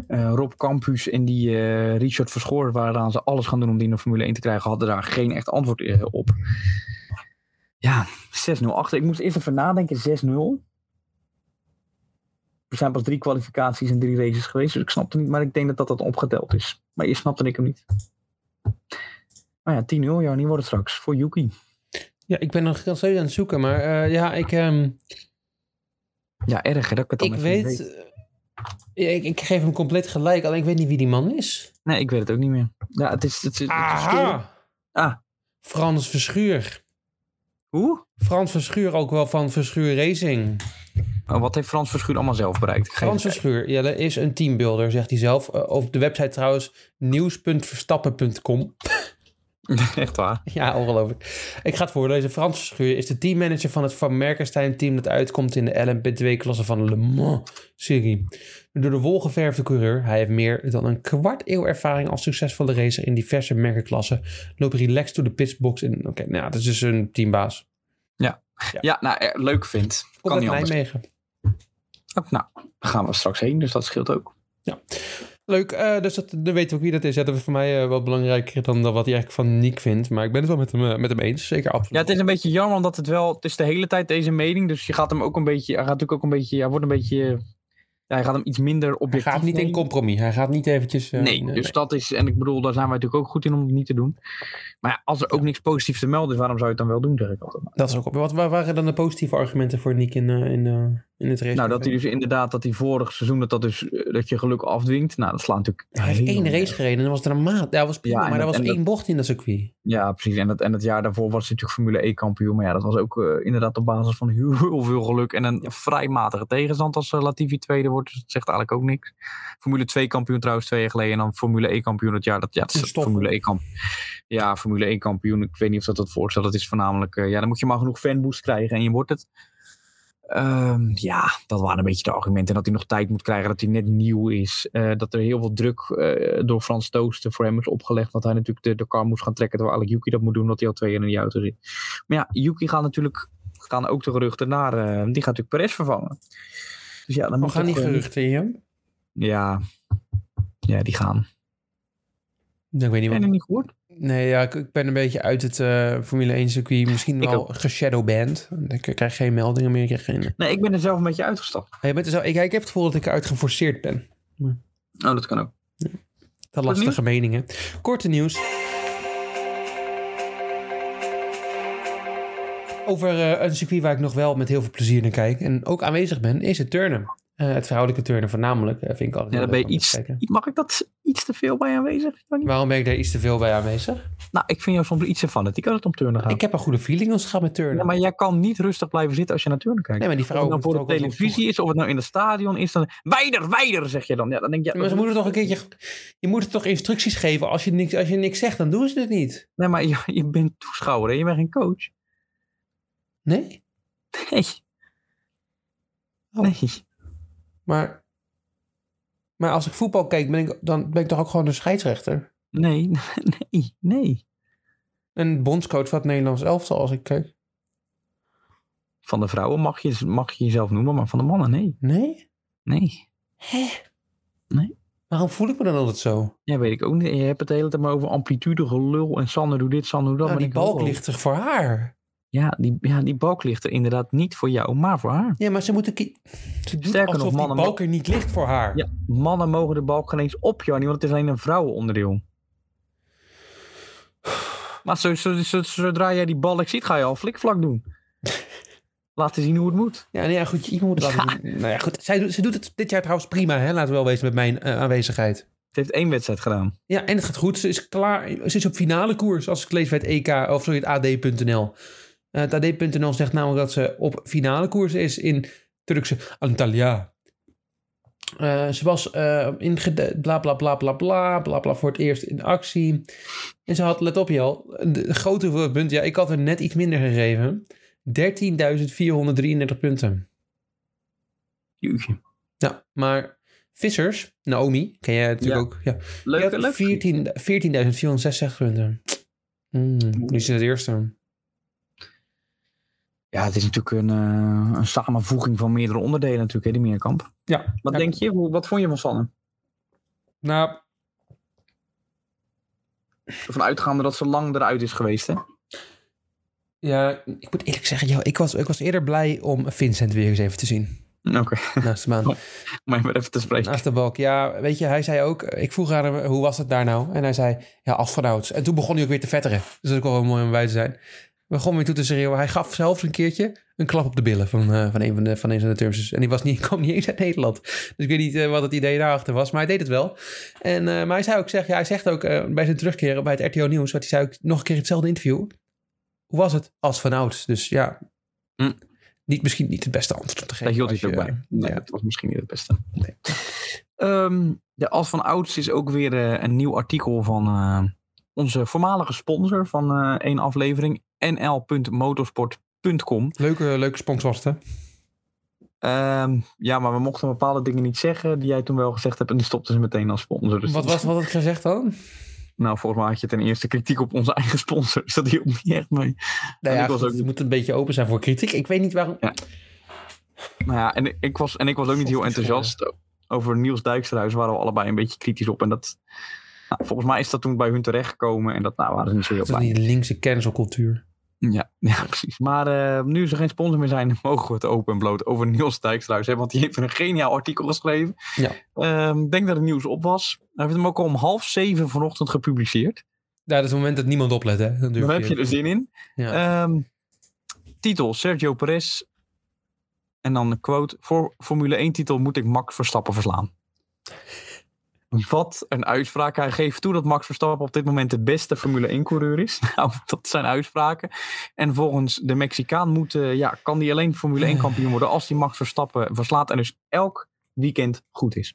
Speaker 2: eh, Rob Campus en die eh, Richard Verschoor, waaraan ze alles gaan doen om die in de Formule 1 te krijgen, hadden daar geen echt antwoord eh, op. Ja, 6-0 achter. Ik moest eerst even nadenken, 6-0. Er zijn pas drie kwalificaties en drie races geweest, dus ik snapte niet, maar ik denk dat dat, dat opgeteld is. Maar eerst snapte ik hem niet. Maar ja, 10-0, Jarnie wordt het straks voor Yuki.
Speaker 1: Ja, ik ben nog steeds aan het zoeken, maar eh, ja, ik, ehm,
Speaker 2: Ja, erg hè, dat ik het dan
Speaker 1: ik
Speaker 2: even niet
Speaker 1: weet... eh, ja, ik, ik geef hem compleet gelijk, alleen ik weet niet wie die man is.
Speaker 2: Nee, ik weet het ook niet meer. Ja, het is... Het is, het is Ah.
Speaker 1: Frans Verschuur.
Speaker 2: Hoe?
Speaker 1: Frans Verschuur ook wel van Verschuur Racing.
Speaker 2: Oh, wat heeft Frans Verschuur allemaal zelf bereikt? Ik ga
Speaker 1: Frans
Speaker 2: even
Speaker 1: Verschuur ja, dat is een teambuilder, zegt hij zelf. Eh, op de website trouwens nieuws.verstappen.com.
Speaker 2: kijken. Echt waar.
Speaker 1: Ja, ongelooflijk. Ik ga het voorlezen. Frans Verschuur is de teammanager van het Van Merkenstein team dat uitkomt in de LMP2-klasse van Le Mans-serie. Door de wolgeverfde coureur, hij heeft meer dan een kwart eeuw ervaring als succesvolle racer in diverse merkenklassen, loopt relaxed door de pitsbox. in- Oké, nou, ja, dat is dus een teambaas.
Speaker 2: Ja, nou, eh, leuk vindt.
Speaker 1: Komt
Speaker 2: Kan
Speaker 1: uit
Speaker 2: niet anders.
Speaker 1: Nijmegen.
Speaker 2: Oh, nou, daar gaan we straks heen, dus dat scheelt ook.
Speaker 1: Leuk, eh, dus dat, dan weten we ook wie dat is. Ja, dat is voor mij eh, wel belangrijker dan, dan wat hij eigenlijk van Nick vindt. Maar ik ben het wel met hem, eh, met hem eens. Zeker,
Speaker 2: Ja,
Speaker 1: absoluut.
Speaker 2: het is een beetje jammer, omdat het wel... Het is de hele tijd deze mening, dus je gaat hem ook een beetje... Hij gaat natuurlijk ook een beetje... Hij wordt een beetje... Ja, hij gaat hem iets minder
Speaker 1: hij
Speaker 2: objectief
Speaker 1: gaat niet in
Speaker 2: nemen.
Speaker 1: compromis. Hij gaat niet eventjes... eh,
Speaker 2: Nee, dus dat is... En ik bedoel, daar zijn wij natuurlijk ook goed in om het niet te doen. Maar ja, als er ook niks positiefs te melden is, waarom zou je het dan wel doen, zeg ik altijd.
Speaker 1: Dat is ook op. Wat wa- waren dan de positieve argumenten voor Nick in, eh, in, eh, in het race?
Speaker 2: Nou, dat hij dus inderdaad, dat hij vorig seizoen, dat, dat, dus, eh, dat je geluk afdwingt. Nou, dat slaat natuurlijk...
Speaker 1: Hij heeft één
Speaker 2: helemaal
Speaker 1: race gereden en dat was dramaat. Ja, dat was prima,
Speaker 2: Ja, en
Speaker 1: maar
Speaker 2: dat-
Speaker 1: er was
Speaker 2: en dat-
Speaker 1: één bocht in dat circuit.
Speaker 2: Ja, precies. En dat, en dat jaar daarvoor was hij natuurlijk Formule E kampioen. Maar ja, dat was ook eh, inderdaad op basis van heel veel geluk. En een vrij matige tegenstand als eh, Latifi tweede wordt. Dus dat zegt eigenlijk ook niks. Formule 2 kampioen trouwens twee jaar geleden. En dan Formule E kampioen het jaar. Dat, ja, dat
Speaker 1: Een
Speaker 2: is
Speaker 1: stoffel.
Speaker 2: Formule E kampioen. Ja, Formule 1 kampioen. Ik weet niet of dat dat voorstelt. Dat is voornamelijk... eh, ja, dan moet je maar genoeg fanboost krijgen en je wordt het. Ehm, ja, dat waren een beetje de argumenten. En dat hij nog tijd moet krijgen, dat hij net nieuw is. eh, dat er heel veel druk eh, door Frans Toosten voor hem is opgelegd. Dat hij natuurlijk de, de kar moest gaan trekken. Terwijl eigenlijk Yuki dat moet doen, omdat hij al twee jaar in die auto zit. Maar ja, Yuki gaat natuurlijk gaan ook de geruchten naar. eh, die gaat natuurlijk Perez vervangen. Dus ja, dan
Speaker 1: We
Speaker 2: moet
Speaker 1: Oh, gaan
Speaker 2: toch,
Speaker 1: die
Speaker 2: eh,
Speaker 1: geruchten Nou, in.
Speaker 2: Ja. ja, die gaan.
Speaker 1: Ik weet niet
Speaker 2: En
Speaker 1: wat.
Speaker 2: hem niet gehoord?
Speaker 1: Nee, ja, ik, ik ben een beetje uit het eh, Formule 1 circuit. Misschien
Speaker 2: Ik
Speaker 1: wel geshadowband. Ik krijg geen meldingen meer. Ik krijg geen...
Speaker 2: Nee, ik ben er zelf een beetje uitgestapt.
Speaker 1: Hey, je bent er zo, ik, ik heb het gevoel dat ik eruit geforceerd ben.
Speaker 2: Oh, dat kan ook.
Speaker 1: Dat
Speaker 2: Kort
Speaker 1: lastige meningen. Korte nieuws. Over eh, een circuit waar ik nog wel met heel veel plezier naar kijk en ook aanwezig ben, is het turnen. Eh, het vrouwelijke turnen voornamelijk, eh, vind ik altijd
Speaker 2: Ja,
Speaker 1: heel
Speaker 2: daar ben je
Speaker 1: leuk om te
Speaker 2: iets,
Speaker 1: kijken.
Speaker 2: mag ik dat iets te veel bij aanwezig? Johnny?
Speaker 1: Waarom ben ik daar iets te veel bij aanwezig?
Speaker 2: Nou, ik vind jou soms iets te fanatiek als het om turnen gaat.
Speaker 1: Ik heb een goede feeling als het gaat met turnen.
Speaker 2: Ja, maar jij kan niet rustig blijven zitten als je naar turnen kijkt.
Speaker 1: nee, maar die
Speaker 2: of het
Speaker 1: vrouwen
Speaker 2: nou voor
Speaker 1: moeten
Speaker 2: de
Speaker 1: ook wel eens op
Speaker 2: televisie is, of het nou in het stadion is, dan wijder, wijder, zeg je dan. Ja, dan denk je, ja,
Speaker 1: zoek. Maar ze
Speaker 2: dat-
Speaker 1: moeten toch een keertje... Je moet toch instructies geven. Als je niks, als je niks zegt, dan doen ze het niet.
Speaker 2: Nee, maar je, je bent toeschouwer, hè? je bent geen coach.
Speaker 1: Nee?
Speaker 2: Nee.
Speaker 1: Oh.
Speaker 2: Nee.
Speaker 1: Maar, maar als ik voetbal kijk, ben ik, dan ben ik toch ook gewoon een scheidsrechter?
Speaker 2: Nee, nee, nee.
Speaker 1: En bondscoach van het Nederlands elftal als ik kijk.
Speaker 2: Van de vrouwen mag je, mag je jezelf noemen, maar van de mannen, nee.
Speaker 1: Nee?
Speaker 2: Nee.
Speaker 1: Waarom voel ik me dan altijd zo?
Speaker 2: Ja, weet ik ook niet. En Je hebt het de hele tijd maar over amplitude, gelul en Sander doe dit, Sander doe dat.
Speaker 1: Nou,
Speaker 2: maar
Speaker 1: die
Speaker 2: ik denk,
Speaker 1: balk
Speaker 2: oh,
Speaker 1: ligt er voor haar.
Speaker 2: Ja die, ja, die balk ligt er inderdaad niet voor jou, maar voor haar.
Speaker 1: Ja, maar ze moeten... ki- Ze doet
Speaker 2: Sterker nog,
Speaker 1: alsof
Speaker 2: mannen-
Speaker 1: die balk er niet ligt voor haar.
Speaker 2: Ja, mannen mogen de balk geen eens op, Jannie, want het is alleen een vrouwenonderdeel. Maar zo, zo, zo- zodra jij die balk ziet, ga je al flikvlak doen. Laten zien hoe het moet.
Speaker 1: Ja, nee, ja, goed, je moet het laten doen. Nou ja, goed. Zij, doet- ze doet het dit jaar trouwens prima, hè? laten we wel wezen met mijn eh, aanwezigheid.
Speaker 2: Het heeft één wedstrijd gedaan.
Speaker 1: Ja, en het gaat goed. Ze is klaar. Ze is op finale koers, als ik lees bij het EK, of sorry, het AD.nl. Eh, het AD.nl zegt namelijk dat ze op finale koers is in Turkse Antalya. Eh, ze was eh, in gede- bla bla bla bla bla bla bla voor het eerst in actie. En ze had, let op je al, een grote hoeveelheid punten. Ja, ik had er net iets minder gegeven. 13.433 punten.
Speaker 2: Jeetje.
Speaker 1: Ja, maar Vissers, Naomi, ken jij natuurlijk ook. Ja. Die
Speaker 2: Leuk,
Speaker 1: had
Speaker 2: leuk.
Speaker 1: 14 14.460 punten. Mm, nu is het eerste.
Speaker 2: Ja, het is natuurlijk een, eh, een samenvoeging van meerdere onderdelen natuurlijk, hè, die meerkamp.
Speaker 1: Ja.
Speaker 2: Wat
Speaker 1: Ja.
Speaker 2: denk je? Hoe- Wat vond je van Sanne?
Speaker 1: Nou,
Speaker 2: Ervan uitgaande dat ze lang eruit is geweest, hè?
Speaker 1: ja, ik moet eerlijk zeggen, joh, ik, was, ik was eerder blij om Vincent weer eens even te zien.
Speaker 2: Oké,
Speaker 1: Naast de baan.
Speaker 2: maar maar even te spreken.
Speaker 1: Naast de balk. Ja, weet je, hij zei ook... Ik vroeg aan hem, hoe was het daar nou? En hij zei, ja, als vanouds. En toen begon hij ook weer te vetteren. Dus dat is ook wel mooi om bij te zijn. We begonnen weer toe te schreeuwen. Hij gaf zelfs een keertje een klap op de billen van, eh, van een van de, van een van de Turksers. En die was niet, kwam niet eens uit Nederland. Dus ik weet niet eh, wat het idee daarachter was, maar hij deed het wel. En, eh, maar hij, zei ook, zeg, ja, hij zegt ook eh, bij zijn terugkeren bij het RTO Nieuws... wat hij zei ook nog een keer in hetzelfde interview. Hoe was het als vanouds? Dus ja...
Speaker 2: Hm.
Speaker 1: Niet, misschien niet het beste antwoord om te geven.
Speaker 2: Daar hield
Speaker 1: als
Speaker 2: hij het ook
Speaker 1: je-
Speaker 2: bij. Nee,
Speaker 1: ja.
Speaker 2: Dat was misschien niet het beste.
Speaker 1: Nee.
Speaker 2: Ehm, de Als van Ouds is ook weer eh, een nieuw artikel van eh, onze voormalige sponsor van eh, één aflevering. nl.motorsport.com.
Speaker 1: eh, Leuke, leuke sponsor was het, hè?
Speaker 2: Ehm, ja, maar we mochten bepaalde dingen niet zeggen die jij toen wel gezegd hebt. En die stopten ze meteen als sponsor. Dus
Speaker 1: wat
Speaker 2: dat-
Speaker 1: was wat had ik gezegd dan?
Speaker 2: Nou, volgens mij had je ten eerste kritiek op onze eigen sponsor. Dus dat hielp niet echt mee.
Speaker 1: Nou
Speaker 2: ik
Speaker 1: ja,
Speaker 2: was
Speaker 1: goed,
Speaker 2: ook-
Speaker 1: je moet een beetje open zijn voor kritiek. Ik weet niet waarom.
Speaker 2: Nou ja, en ik was, en ik was ook niet heel enthousiast over Niels Dijksterhuis. Waren we allebei een beetje kritisch op. En dat, nou, volgens mij is dat toen bij hun terechtgekomen. En dat nou, waren ze niet zo heel
Speaker 1: Dat is
Speaker 2: blij.
Speaker 1: niet de linkse cancelcultuur.
Speaker 2: Ja, ja, precies. Maar eh, nu ze geen sponsor meer zijn, mogen we het open en bloot over Niels Dijkstruis hebben. Want die heeft een geniaal artikel geschreven.
Speaker 1: Ja.
Speaker 2: Ehm, ik denk dat het nieuws op was. Hij heeft hem ook al om half zeven vanochtend gepubliceerd.
Speaker 1: Ja, dat is het moment dat niemand oplet, hè? Dan durf
Speaker 2: Daar heb je dus- er zin in.
Speaker 1: Ja.
Speaker 2: Ehm, titel, Sergio Perez. En dan de quote, voor Formule 1 titel moet ik Max Verstappen verslaan. Wat een uitspraak. Hij geeft toe dat Max Verstappen op dit moment de beste Formule 1 coureur is. Nou, dat zijn uitspraken. En volgens de Mexicaan moet, eh, ja, kan hij alleen Formule 1 kampioen worden als hij Max Verstappen verslaat. En dus elk weekend goed is.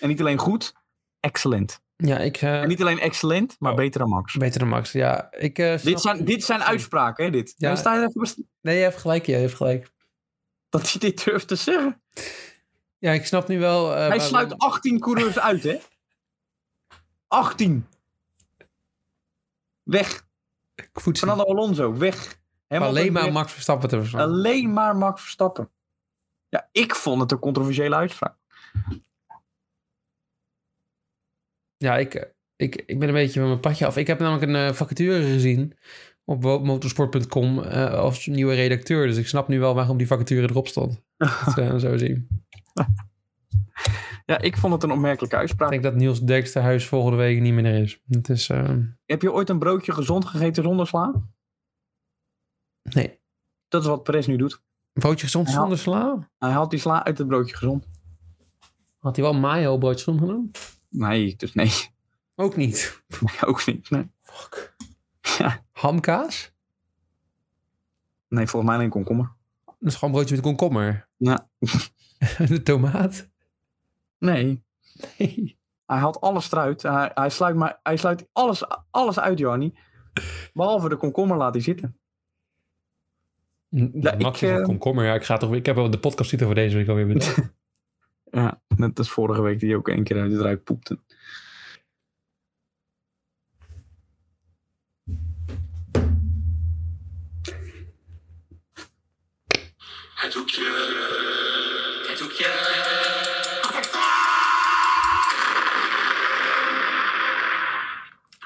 Speaker 2: En niet alleen goed, excellent.
Speaker 1: ja, ik... eh,
Speaker 2: En niet alleen excellent, maar
Speaker 1: Oh.
Speaker 2: beter dan Max.
Speaker 1: Beter dan Max, ja. Ik, eh, snap-
Speaker 2: Dit zijn, dit zijn uitspraken, hè, dit.
Speaker 1: Ja.
Speaker 2: Ja. Sta je even best-
Speaker 1: Nee, je hebt gelijk, je hebt gelijk.
Speaker 2: dat hij dit durft te zeggen.
Speaker 1: Ja, ik snap nu wel... eh,
Speaker 2: hij
Speaker 1: waar-
Speaker 2: sluit 18 coureurs uit, hè? 18. Weg.
Speaker 1: Ik voed ze
Speaker 2: Fernando Alonso, weg.
Speaker 1: niet.
Speaker 2: Hamilton
Speaker 1: alleen maar
Speaker 2: weg.
Speaker 1: Max Verstappen te verslaan.
Speaker 2: alleen maar Max Verstappen. Ja, ik vond het een controversiële uitspraak.
Speaker 1: Ja, ik, eh, ik, ik ben een beetje van mijn padje af. Ik heb namelijk een eh, vacature gezien op wo- motorsport.com eh, als nieuwe redacteur. Dus ik snap nu wel waarom die vacature erop stond. Dat eh, zo zien.
Speaker 2: Ja, ik vond het een opmerkelijke uitspraak.
Speaker 1: Ik denk dat Niels Deksterhuis volgende week niet meer er is. Het is... eh,
Speaker 2: Heb je ooit een broodje gezond gegeten zonder sla?
Speaker 1: nee.
Speaker 2: Dat is wat Perez nu doet.
Speaker 1: Een broodje gezond
Speaker 2: Ja.
Speaker 1: zonder sla?
Speaker 2: Hij haalt die sla uit het broodje gezond.
Speaker 1: Had hij wel mayo broodje gezond genomen?
Speaker 2: Nee, dus nee.
Speaker 1: Ook niet.
Speaker 2: Ook niet. Nee,
Speaker 1: Fuck.
Speaker 2: Ja.
Speaker 1: Hamkaas?
Speaker 2: nee volgens mij alleen komkommer.
Speaker 1: Dat is gewoon een broodje met komkommer.
Speaker 2: Ja.
Speaker 1: de tomaat?
Speaker 2: Nee,
Speaker 1: Nee.
Speaker 2: Hij haalt alles eruit. Hij, hij sluit, maar, hij sluit alles, alles uit, Johnny. Behalve de komkommer laat hij zitten.
Speaker 1: Ja,
Speaker 2: ik, eh,
Speaker 1: komkommer. Ja, ik, ga toch, weer- ik heb wel de podcast titel voor deze week alweer bedacht.
Speaker 2: Ja, net als vorige week die hij ook één keer uit het ruik poepte.
Speaker 4: Het hoekje. Het hoekje.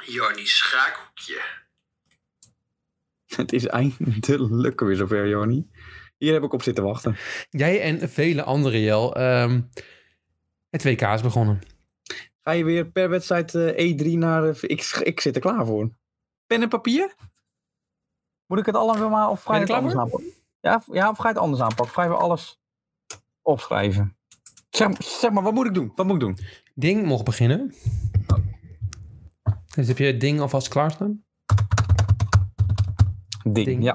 Speaker 4: Jarnie Schaakhoekje.
Speaker 2: Het is eindelijk weer zover, Jonny. Hier heb ik op zitten wachten.
Speaker 1: Jij en vele anderen, Jel. ehm, het WK is begonnen.
Speaker 2: Ga je weer per wedstrijd eh, E3 naar... eh, ik, sch- ik zit er klaar voor. Pen en papier? Moet ik het allemaal maar... Of ga
Speaker 1: Ben
Speaker 2: je
Speaker 1: je
Speaker 2: het
Speaker 1: er klaar
Speaker 2: anders aanpakken? Ja, of- ja, of ga je het anders aanpakken? Ga je weer alles opschrijven? Zeg, zeg maar, wat moet ik doen? Wat moet ik doen?
Speaker 1: Ding mocht beginnen. Oh. Dus heb je het ding alvast klaarstaan?
Speaker 2: Ding,
Speaker 1: Ding,
Speaker 2: ja.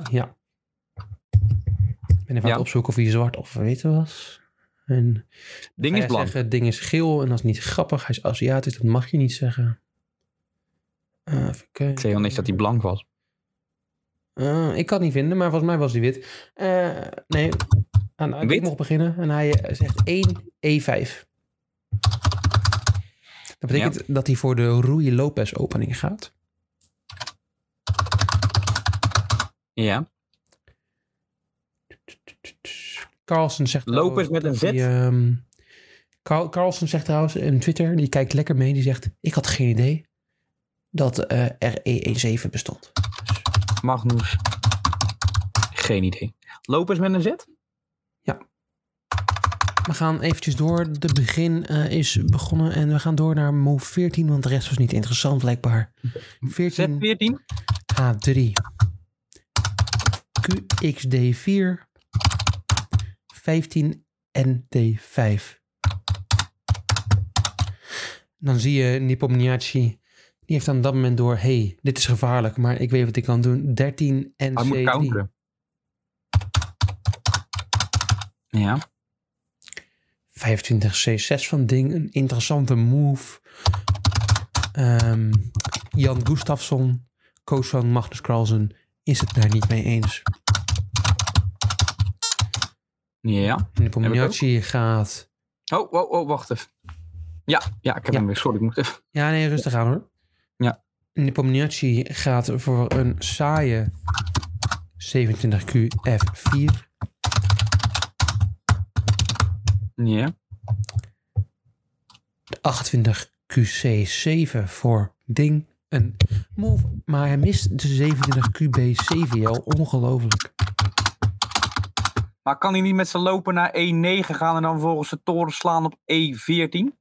Speaker 1: Ik ben even aan
Speaker 2: Ja.
Speaker 1: het opzoeken of hij zwart of wit was. En
Speaker 2: Ding
Speaker 1: ga
Speaker 2: is
Speaker 1: jij
Speaker 2: blank.
Speaker 1: zeggen, ding is geel en dat is niet grappig. Hij is Aziatisch, dat mag je niet zeggen. Eh, even kijken.
Speaker 2: Ik zei al niks dat hij blank was.
Speaker 1: Eh, ik kan het niet vinden, maar volgens mij was hij wit. Eh, nee, aan, aan-
Speaker 2: Wit?
Speaker 1: ik mocht beginnen en hij eh, zegt 1 E5. Dat betekent dat hij voor de Rui Lopez opening gaat.
Speaker 2: Ja.
Speaker 1: Carlsen zegt...
Speaker 2: Lopez met een
Speaker 1: dat
Speaker 2: Z?
Speaker 1: hij, ehm, Carl, Carlsen zegt trouwens in Twitter, die kijkt lekker mee, die zegt... Ik had geen idee dat eh RE17 bestond.
Speaker 2: Magnus. Geen idee. Lopez met een Z?
Speaker 1: We gaan eventjes door. De begin eh, is begonnen en we gaan door naar Mo 14, want de rest was niet interessant blijkbaar. 14
Speaker 2: Z14?
Speaker 1: H3. QXD4. 15 ND5. Dan zie je Nipomniachtchi. Die heeft aan dat moment door, hey, dit is gevaarlijk, maar ik weet wat ik kan doen. 13 NC3.
Speaker 2: Hij moet counteren. Ja.
Speaker 1: 25C6 van Ding. Een interessante move. Ehm, Jan Gustafsson, coach van Magnus Carlsen, is het daar niet mee eens.
Speaker 2: Ja.
Speaker 1: En de combinatie gaat...
Speaker 2: Oh, oh, oh, wacht even. Ja, ja, ik heb
Speaker 1: Ja.
Speaker 2: hem weer. Sorry, ik moet even.
Speaker 1: Ja, nee, rustig aan hoor.
Speaker 2: Ja.
Speaker 1: Nepomniachtchi gaat voor een saaie 27Q F4.
Speaker 2: Ja.
Speaker 1: 28QC7 voor Ding. Een move, maar hij mist de 27QB7L. Ongelooflijk.
Speaker 2: Maar kan hij niet met zijn lopen naar E9 gaan en dan volgens de toren slaan op E E14?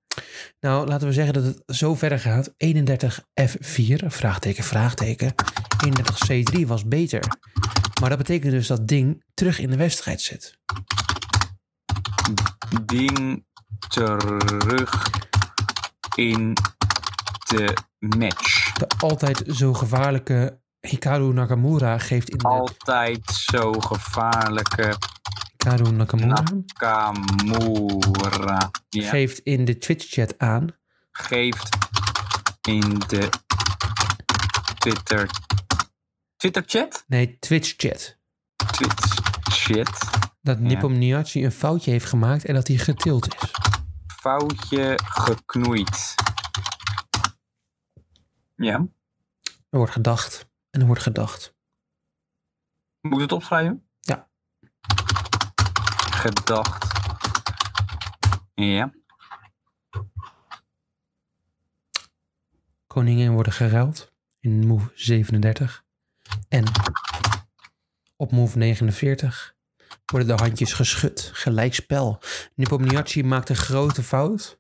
Speaker 1: Nou, laten we zeggen dat het zo verder gaat. 31F4, vraagteken, vraagteken. 31C3 was beter. Maar dat betekent dus dat ding terug in de wedstrijd zit.
Speaker 2: Ding terug in de match.
Speaker 1: De altijd zo gevaarlijke Hikaru Nakamura geeft in de
Speaker 2: Altijd zo gevaarlijke
Speaker 1: Hikaru Nakamura
Speaker 2: Kamura. Ja.
Speaker 1: geeft in de Twitch chat aan.
Speaker 2: geeft in de Twitter. Twitter chat?
Speaker 1: Nee, Twitch chat.
Speaker 2: Twitch chat.
Speaker 1: Dat Nipomniachtchi een foutje heeft gemaakt en dat hij getild is.
Speaker 2: Foutje geknoeid. Ja.
Speaker 1: Er wordt gedacht en er wordt gedacht.
Speaker 2: Moet ik het opschrijven?
Speaker 1: Ja.
Speaker 2: Gedacht. Ja.
Speaker 1: Koningen worden geruild in move 37. En op move 49 worden de handjes geschud. Gelijkspel. Nipomniachtchi maakt een grote fout.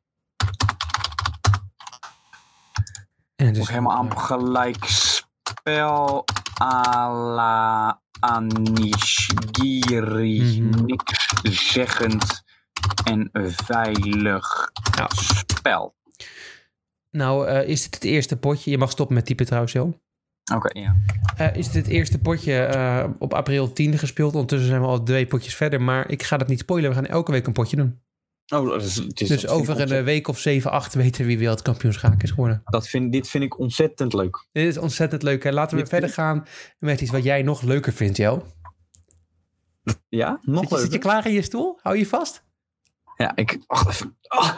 Speaker 1: En het is
Speaker 2: Moet helemaal aan gelijk spel à la Anishgiri.
Speaker 1: Mhm.
Speaker 2: Niks zeggend en veilig
Speaker 1: Ja.
Speaker 2: spel.
Speaker 1: Nou, eh, is dit het eerste potje? Je mag stoppen met typen trouwens, Jo.
Speaker 2: Oké, ja.
Speaker 1: Eh, is dit het eerste potje eh, op april 10 gespeeld? Ondertussen zijn we al twee potjes verder. Maar ik ga dat niet spoilen. We gaan elke week een potje doen.
Speaker 2: Oh, dat is, het
Speaker 1: Dus
Speaker 2: is- dat vind
Speaker 1: over
Speaker 2: ik ontzettend-
Speaker 1: een week of 7, 8 weten we wie wereldkampioen schaak is geworden.
Speaker 2: dat vind, dit vind ik ontzettend leuk.
Speaker 1: Dit is ontzettend leuk. Hè? Laten we
Speaker 2: Dit-
Speaker 1: verder gaan met iets wat jij nog leuker vindt, Jel.
Speaker 2: Ja, nog
Speaker 1: Zit je, zit je
Speaker 2: leuker.
Speaker 1: klaar in je stoel? Hou je vast?
Speaker 2: Ja, ik... Wacht even. Ah.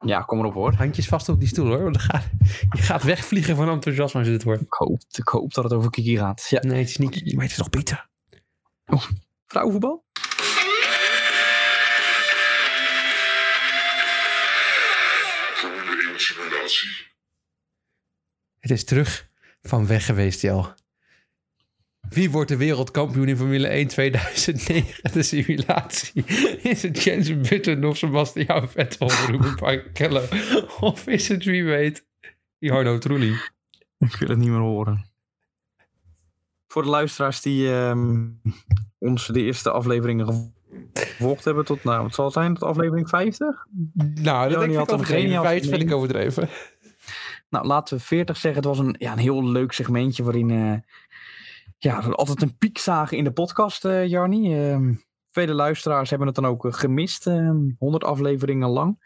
Speaker 2: Ja, kom erop hoor.
Speaker 1: Handjes vast op die stoel hoor. Want dan gaat, je gaat wegvliegen van enthousiasme als je dit hoort.
Speaker 2: Ik hoop, ik hoop dat het over Kiki gaat. Ja.
Speaker 1: Nee, het is niet. Maar het is nog beter.
Speaker 2: Vrouwenvoetbal?
Speaker 4: Frans.
Speaker 1: Het is terug van weg geweest, Jel. Wie wordt de wereldkampioen in Formule 1 2009? De simulatie. Is het Jensen Button of Sebastian Vettel of Ruben Barrichello? Of is het wie weet Jarno Trulli?
Speaker 2: Ik wil het niet meer horen. Voor de luisteraars die ehm, ons de eerste afleveringen gevo- gevolgd hebben tot, nou, wat zal het zijn, tot aflevering 50?
Speaker 1: Nou, dat
Speaker 2: Joni
Speaker 1: denk
Speaker 2: had
Speaker 1: ik
Speaker 2: hem geen
Speaker 1: overdreven.
Speaker 2: half
Speaker 1: Vijf vind ik
Speaker 2: gemeen.
Speaker 1: overdreven.
Speaker 2: Nou, laten we 40 zeggen. Het was een, ja, een heel leuk segmentje waarin eh, ja, we altijd een piek zagen in de podcast, eh Jarni. Ehm, vele luisteraars hebben het dan ook eh, gemist, ehm, 100 afleveringen lang.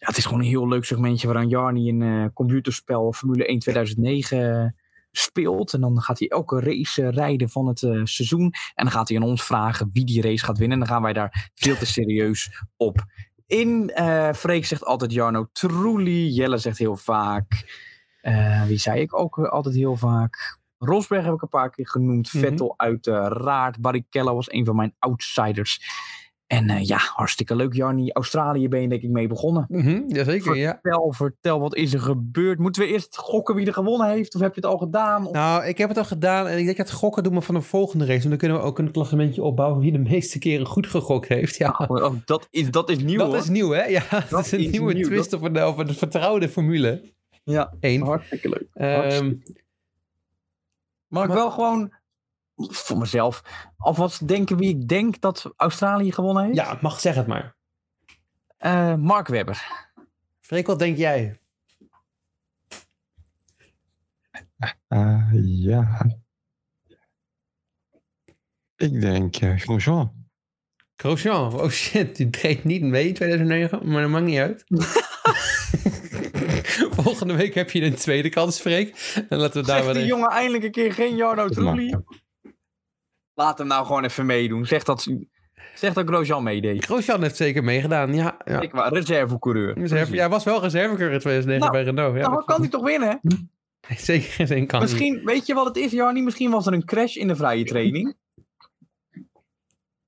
Speaker 2: Ja, het is gewoon een heel leuk segmentje waarin Jarni een eh, computerspel Formule 1 2009 eh, speelt. En dan gaat hij elke race eh, rijden van het eh, seizoen. En dan gaat hij aan ons vragen wie die race gaat winnen. En dan gaan wij daar veel te serieus op in. Eh Freek zegt altijd Jarno Trulli. Jelle zegt heel vaak... Eh, wie zei ik ook weer altijd heel vaak? Rosberg heb ik een paar keer genoemd.
Speaker 1: Mhm.
Speaker 2: Vettel uiteraard. Barrichello was een van mijn outsiders. En eh, ja, hartstikke leuk, Jarni. Australië ben je denk ik mee begonnen.
Speaker 1: Mhm, jazeker, ja.
Speaker 2: Vertel, vertel, wat is er gebeurd? Moeten we eerst gokken wie er gewonnen heeft? Of heb je het al gedaan? Of-
Speaker 1: Nou, ik heb het al gedaan en ik denk dat gokken doen we van een volgende race. En dan kunnen we ook een klassementje opbouwen wie de meeste keren goed gegokt heeft. Ja.
Speaker 2: Oh, oh, dat, is, dat is nieuw
Speaker 1: dat
Speaker 2: hoor.
Speaker 1: is nieuw, hè? Ja, dat,
Speaker 2: Dat
Speaker 1: is een
Speaker 2: is
Speaker 1: nieuwe
Speaker 2: nieuw,
Speaker 1: twist op een, op een vertrouwde formule. Ehm,
Speaker 2: Ja.
Speaker 1: 1.
Speaker 2: Hartstikke leuk. hartstikke. Mag ik
Speaker 1: Maar-
Speaker 2: wel gewoon voor mezelf alvast denken wie ik denk dat Australië gewonnen heeft?
Speaker 1: ja, mag zeg het maar.
Speaker 2: Eh, Mark Webber.
Speaker 1: Freek, wat denk jij?
Speaker 7: Ah, ja. Ik denk eh Grosjean.
Speaker 1: Grosjean, oh shit, die treedt niet mee in 2009, maar dat maakt niet uit. Volgende week heb je een tweede kans, Freek. En laten we daar
Speaker 2: Zegt
Speaker 1: wel
Speaker 2: die
Speaker 1: even-
Speaker 2: jongen eindelijk een keer geen Jarno
Speaker 7: Dat mag.
Speaker 2: Trulli? Laat hem nou gewoon even meedoen. Zeg dat, zeg dat Grosjean meedeed.
Speaker 1: Grosjean heeft zeker meegedaan, ja. ja.
Speaker 2: Ik was reservecoureur.
Speaker 1: Reserve, ja, hij was wel reservekeur in 2009
Speaker 2: Nou,
Speaker 1: bij Renault. Ja,
Speaker 2: nou,
Speaker 1: dat
Speaker 2: dan kan hij toch winnen?
Speaker 1: klopt. Zeker geen zin kan hij.
Speaker 2: Misschien, weet je wat het is, Jarni? Misschien was er een crash in de vrije training.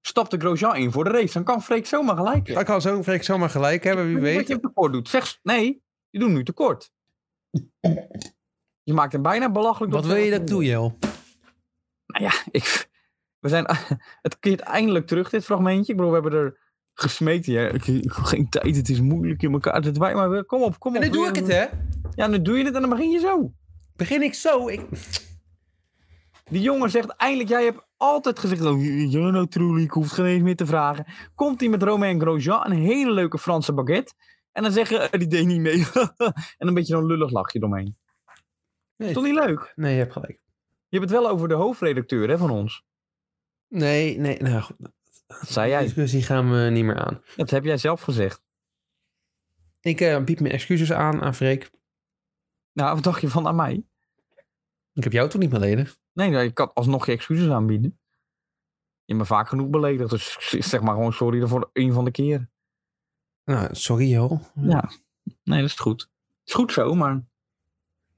Speaker 2: Stapte Grosjean in voor de race. Dan kan Freek zomaar gelijk hebben.
Speaker 1: Dan kan zo'n Freek zomaar gelijk hebben, wie
Speaker 2: Wat
Speaker 1: weet.
Speaker 2: je hem tekort doet. Zeg, nee, je doet hem nu tekort. Je maakt hem bijna belachelijk.
Speaker 1: Wat
Speaker 2: door
Speaker 1: wil je
Speaker 2: te-
Speaker 1: dat toe, Jel?
Speaker 2: Nou ja, ik, we zijn, het keert eindelijk terug, dit fragmentje. Ik bedoel, we hebben er gesmeekt. Ja, ik, ik heb geen tijd, het is moeilijk in elkaar. Dit wij, maar we- kom op, kom
Speaker 1: En
Speaker 2: op.
Speaker 1: nu doe ik het, hè?
Speaker 2: Ja, nu doe je het en dan begin je zo.
Speaker 1: Begin ik zo? Ik...
Speaker 2: Die jongen zegt eindelijk, jij hebt altijd gezegd, oh, Jarno Trulli, ik hoef het geen eens meer te vragen. Komt hij met Romain Grosjean, een hele leuke Franse baguette. En dan zeggen, eh, die deed niet mee. en een beetje zo'n lullig lachje eromheen.
Speaker 1: Nee.
Speaker 2: Is toch niet leuk?
Speaker 1: Nee, je hebt gelijk.
Speaker 2: Je hebt het wel over de hoofdredacteur hè, van ons.
Speaker 1: Nee, nee, nou goed.
Speaker 2: Dat zei
Speaker 1: Die
Speaker 2: jij.
Speaker 1: discussie gaan we niet meer aan.
Speaker 2: Dat heb jij zelf gezegd.
Speaker 1: Ik eh, bied mijn excuses aan aan Freek.
Speaker 2: Nou, wat dacht je van aan mij?
Speaker 1: Ik heb jou toch niet meer leden?
Speaker 2: Nee, nou, ik kan alsnog je excuses aanbieden. Je hebt me vaak genoeg beledigd, dus zeg maar gewoon sorry voor een van de keer.
Speaker 1: Nou, sorry Jel.
Speaker 2: Ja, nee, dat is goed. Het is goed zo, maar...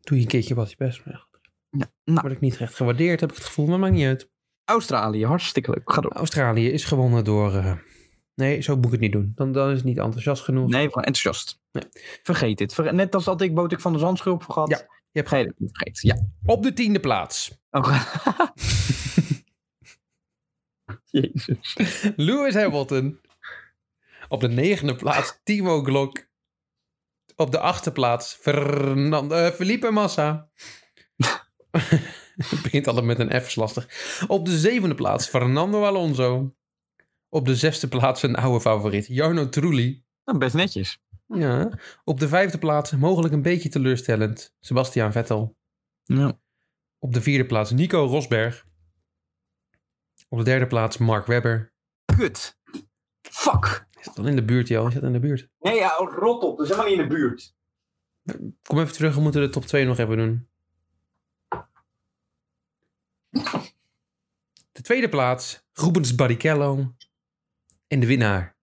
Speaker 1: Doe je een keertje wat je best mag.
Speaker 2: Ja, nou.
Speaker 1: Word ik niet recht gewaardeerd, heb ik het gevoel, maar maakt niet uit.
Speaker 2: Australië, hartstikke leuk. Ga door.
Speaker 1: Australië is gewonnen door... eh, Nee, zo moet ik het niet doen. Dan, dan is het niet enthousiast genoeg.
Speaker 2: Nee, gewoon enthousiast.
Speaker 1: Nee.
Speaker 2: Vergeet dit. Verge- Net als dat ik Botik van de Zandschulp vergat.
Speaker 1: Ja, je hebt
Speaker 2: Vergeet het niet. Vergeet. Ja.
Speaker 1: Op de tiende plaats.
Speaker 2: Oh, Jezus.
Speaker 1: Lewis Hamilton. Op de negende plaats Timo Glock. Op de achtste plaats Fernando, eh, Felipe Massa. Het begint altijd met een F, is lastig. Op de zevende plaats Fernando Alonso. Op de zesde plaats een oude favoriet, Jarno Trulli.
Speaker 2: Nou, best netjes.
Speaker 1: Ja. Op de vijfde plaats, mogelijk een beetje teleurstellend, Sebastian Vettel.
Speaker 2: Ja.
Speaker 1: Op de vierde plaats Nico Rosberg. Op de derde plaats Mark Webber.
Speaker 2: Kut. Fuck.
Speaker 1: Is dat al in de buurt, joh? Is dat in de buurt?
Speaker 2: Nee, ja, rot op. Dat is helemaal niet in de buurt.
Speaker 1: Kom even terug, we moeten de top 2 nog even doen. De tweede plaats, Rubens Barrichello. En de winnaar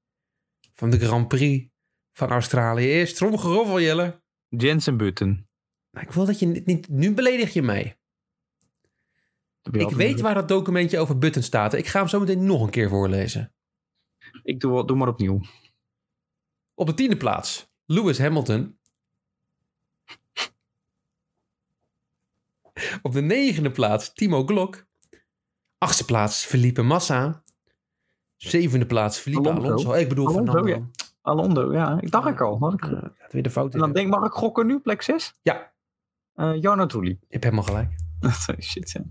Speaker 1: van de Grand Prix van Australië is Tromgeroffel, Jelle.
Speaker 2: Jensen Button.
Speaker 1: Nou, ik wil dat je niet, niet- Nu beledig je mij. Ik weet waar dat documentje over Button staat. Ik ga hem zo meteen nog een keer voorlezen.
Speaker 2: Ik doe, wel- doe maar opnieuw.
Speaker 1: Op de tiende plaats Lewis Hamilton. Op de negende plaats Timo Glock. Achtste plaats Felipe Massa. Zevende plaats Felipe
Speaker 2: Alonso.
Speaker 1: Alonso. Oh, Ik bedoel
Speaker 2: Alonso,
Speaker 1: Fernando.
Speaker 2: ja. Alondo, ja. Ik dacht ik al. Had ik.
Speaker 1: Eh, ja, weer de fout
Speaker 2: En
Speaker 1: in.
Speaker 2: dan denk ik, mag ik gokken nu, plek 6?
Speaker 1: Ja.
Speaker 2: Eh Jarno Trulli.
Speaker 1: Je hebt helemaal gelijk.
Speaker 2: Shit, ja.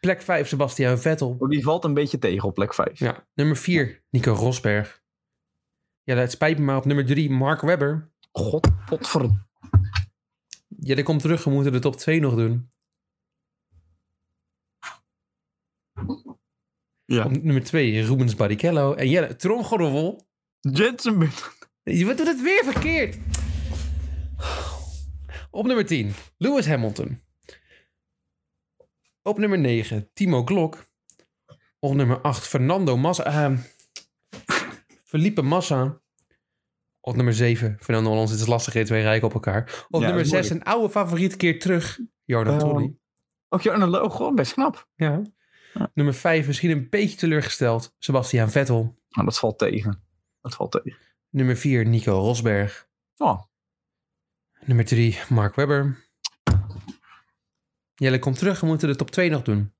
Speaker 1: Plek 5 Sebastian Vettel.
Speaker 2: Oh, Die valt een beetje tegen op plek 5.
Speaker 1: Ja, nummer 4, Nico Rosberg. Ja, dat spijt me maar op nummer 3, Mark Webber.
Speaker 2: God, potverdomme.
Speaker 1: Ja, die komt terug. We moeten de top 2 nog doen.
Speaker 2: Ja.
Speaker 1: Op nummer 2, Rubens Barrichello. En Jelle, Tromgeroffel.
Speaker 2: Jensen Button.
Speaker 1: Je doet het weer verkeerd. Op nummer 10, Lewis Hamilton. Op nummer 9, Timo Glock. Op nummer 8, Fernando Massa. eh, Felipe Massa. Op nummer 7, Fernando Alonso. Het is lastig, geen twee rijken op elkaar. Op
Speaker 2: Ja,
Speaker 1: nummer
Speaker 2: dat is
Speaker 1: 6, een oude favoriet keer terug. Jordan
Speaker 2: Ehm,
Speaker 1: Tully.
Speaker 2: Ook Jarno Lo, gewoon best knap.
Speaker 1: Ja.
Speaker 2: ja.
Speaker 1: Nummer 5, misschien een beetje teleurgesteld, Sebastian Vettel.
Speaker 2: Maar Nou, dat valt tegen. Dat valt tegen.
Speaker 1: Nummer 4, Nico Rosberg.
Speaker 2: Oh,
Speaker 1: Nummer 3, Mark Webber. Jelle, komt terug. We moeten de top 2 nog doen.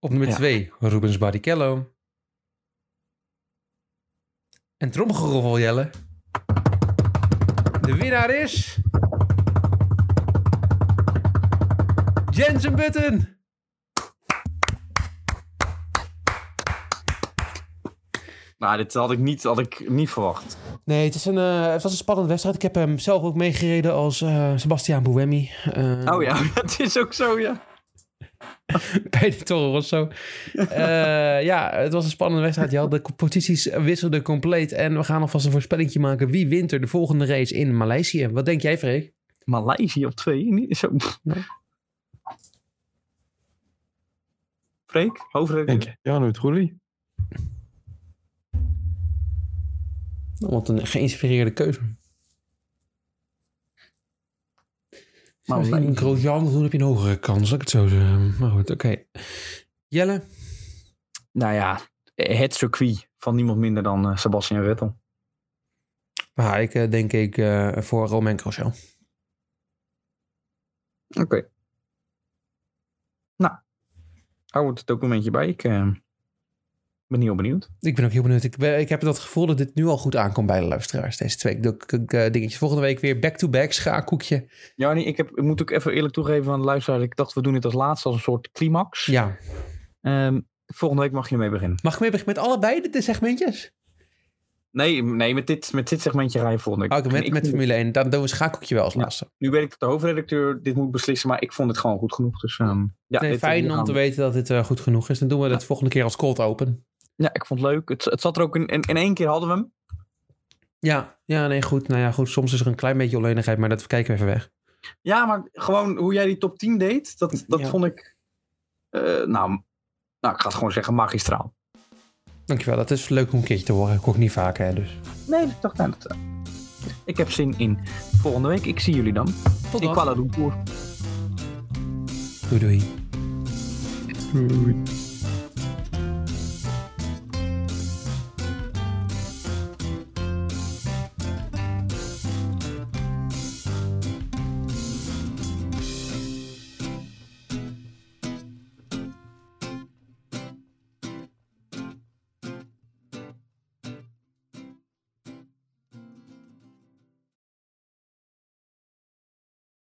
Speaker 1: Op nummer
Speaker 2: Ja.
Speaker 1: 2, Rubens Barrichello. En tromgeroffel, Jelle. De winnaar is... Jensen Button!
Speaker 2: nou, dit had ik niet, had ik niet verwacht.
Speaker 1: Nee, het, is een, eh, het was een spannende wedstrijd. Ik heb hem zelf ook meegereden als eh Sebastian Buemi. Eh,
Speaker 2: Oh ja, dat is ook zo, ja.
Speaker 1: bij de Toro Rosso. Eh, ja, het was een spannende wedstrijd. Ja, de posities wisselden compleet. En we gaan alvast een voorspelling maken. Wie wint er de volgende race in Maleisië? Wat denk jij, Freek?
Speaker 2: Maleisië op twee. Niet zo.
Speaker 1: Nee.
Speaker 2: Freek,
Speaker 7: Denk
Speaker 2: hoofdredacteur.
Speaker 7: je, Jarno Trulli?
Speaker 1: Nou, Wat een geïnspireerde keuze. Maar
Speaker 2: Nou,
Speaker 1: als je een Grosjean wil doen, heb je een hogere kans. Laat ik het zo zeggen. Maar goed, oké. Jelle?
Speaker 2: Nou ja, het circuit van niemand minder dan eh, Sebastian Vettel.
Speaker 1: Maar ik eh, denk ik eh, voor Romain Grosjean.
Speaker 2: Oké. Nou, hou het documentje bij. Ik eh, ben heel benieuwd.
Speaker 1: Ik ben ook heel benieuwd. Ik, ben- ik heb dat gevoel dat dit nu al goed aankomt bij de luisteraars. Deze twee k- k- eh, dingetjes. Volgende week weer back-to-back schaakkoekje.
Speaker 2: Ja, nee, ik, heb, ik moet ook even eerlijk toegeven aan de luisteraar. Ik dacht, we doen dit als laatste, als een soort climax.
Speaker 1: Ja.
Speaker 2: Ehm, volgende week mag je mee beginnen.
Speaker 1: Mag ik mee beginnen met allebei de, de segmentjes?
Speaker 2: Nee, nee met, dit, met dit segmentje ga je volgende week.
Speaker 1: Oké, Oh, met,
Speaker 2: Ik
Speaker 1: met
Speaker 2: vond-
Speaker 1: Formule 1. Dan doen we schakeltje wel als
Speaker 2: Ja.
Speaker 1: laatste.
Speaker 2: Nu weet ik dat de hoofdredacteur dit moet beslissen, maar ik vond het gewoon goed genoeg. Dus, ehm, ja,
Speaker 1: nee,
Speaker 2: dit-
Speaker 1: fijn om
Speaker 2: ja.
Speaker 1: te weten dat dit eh, goed genoeg is. Dan doen we dat volgende keer als cold open.
Speaker 2: Ja, ik vond het leuk. Het, het zat er ook in, in, in één keer hadden we hem.
Speaker 1: Ja, ja, nee, goed. Nou ja, goed. Soms is er een klein beetje onlenigheid, maar dat kijken we even weg.
Speaker 2: Ja, maar gewoon hoe jij die top 10 deed, dat, dat
Speaker 1: Ja.
Speaker 2: vond ik. eh, nou, nou, ik ga het gewoon zeggen, magistraal.
Speaker 1: Dankjewel. Dat is leuk om een keertje te horen. Ik hoor het niet vaak, hè. Dus.
Speaker 2: Nee, dat dacht ik. Dat, eh, ik heb zin in volgende week. Ik zie jullie dan.
Speaker 1: Tot
Speaker 2: In
Speaker 1: dan.
Speaker 2: Kuala Lumpur.
Speaker 1: Doei, doei.
Speaker 7: Goed.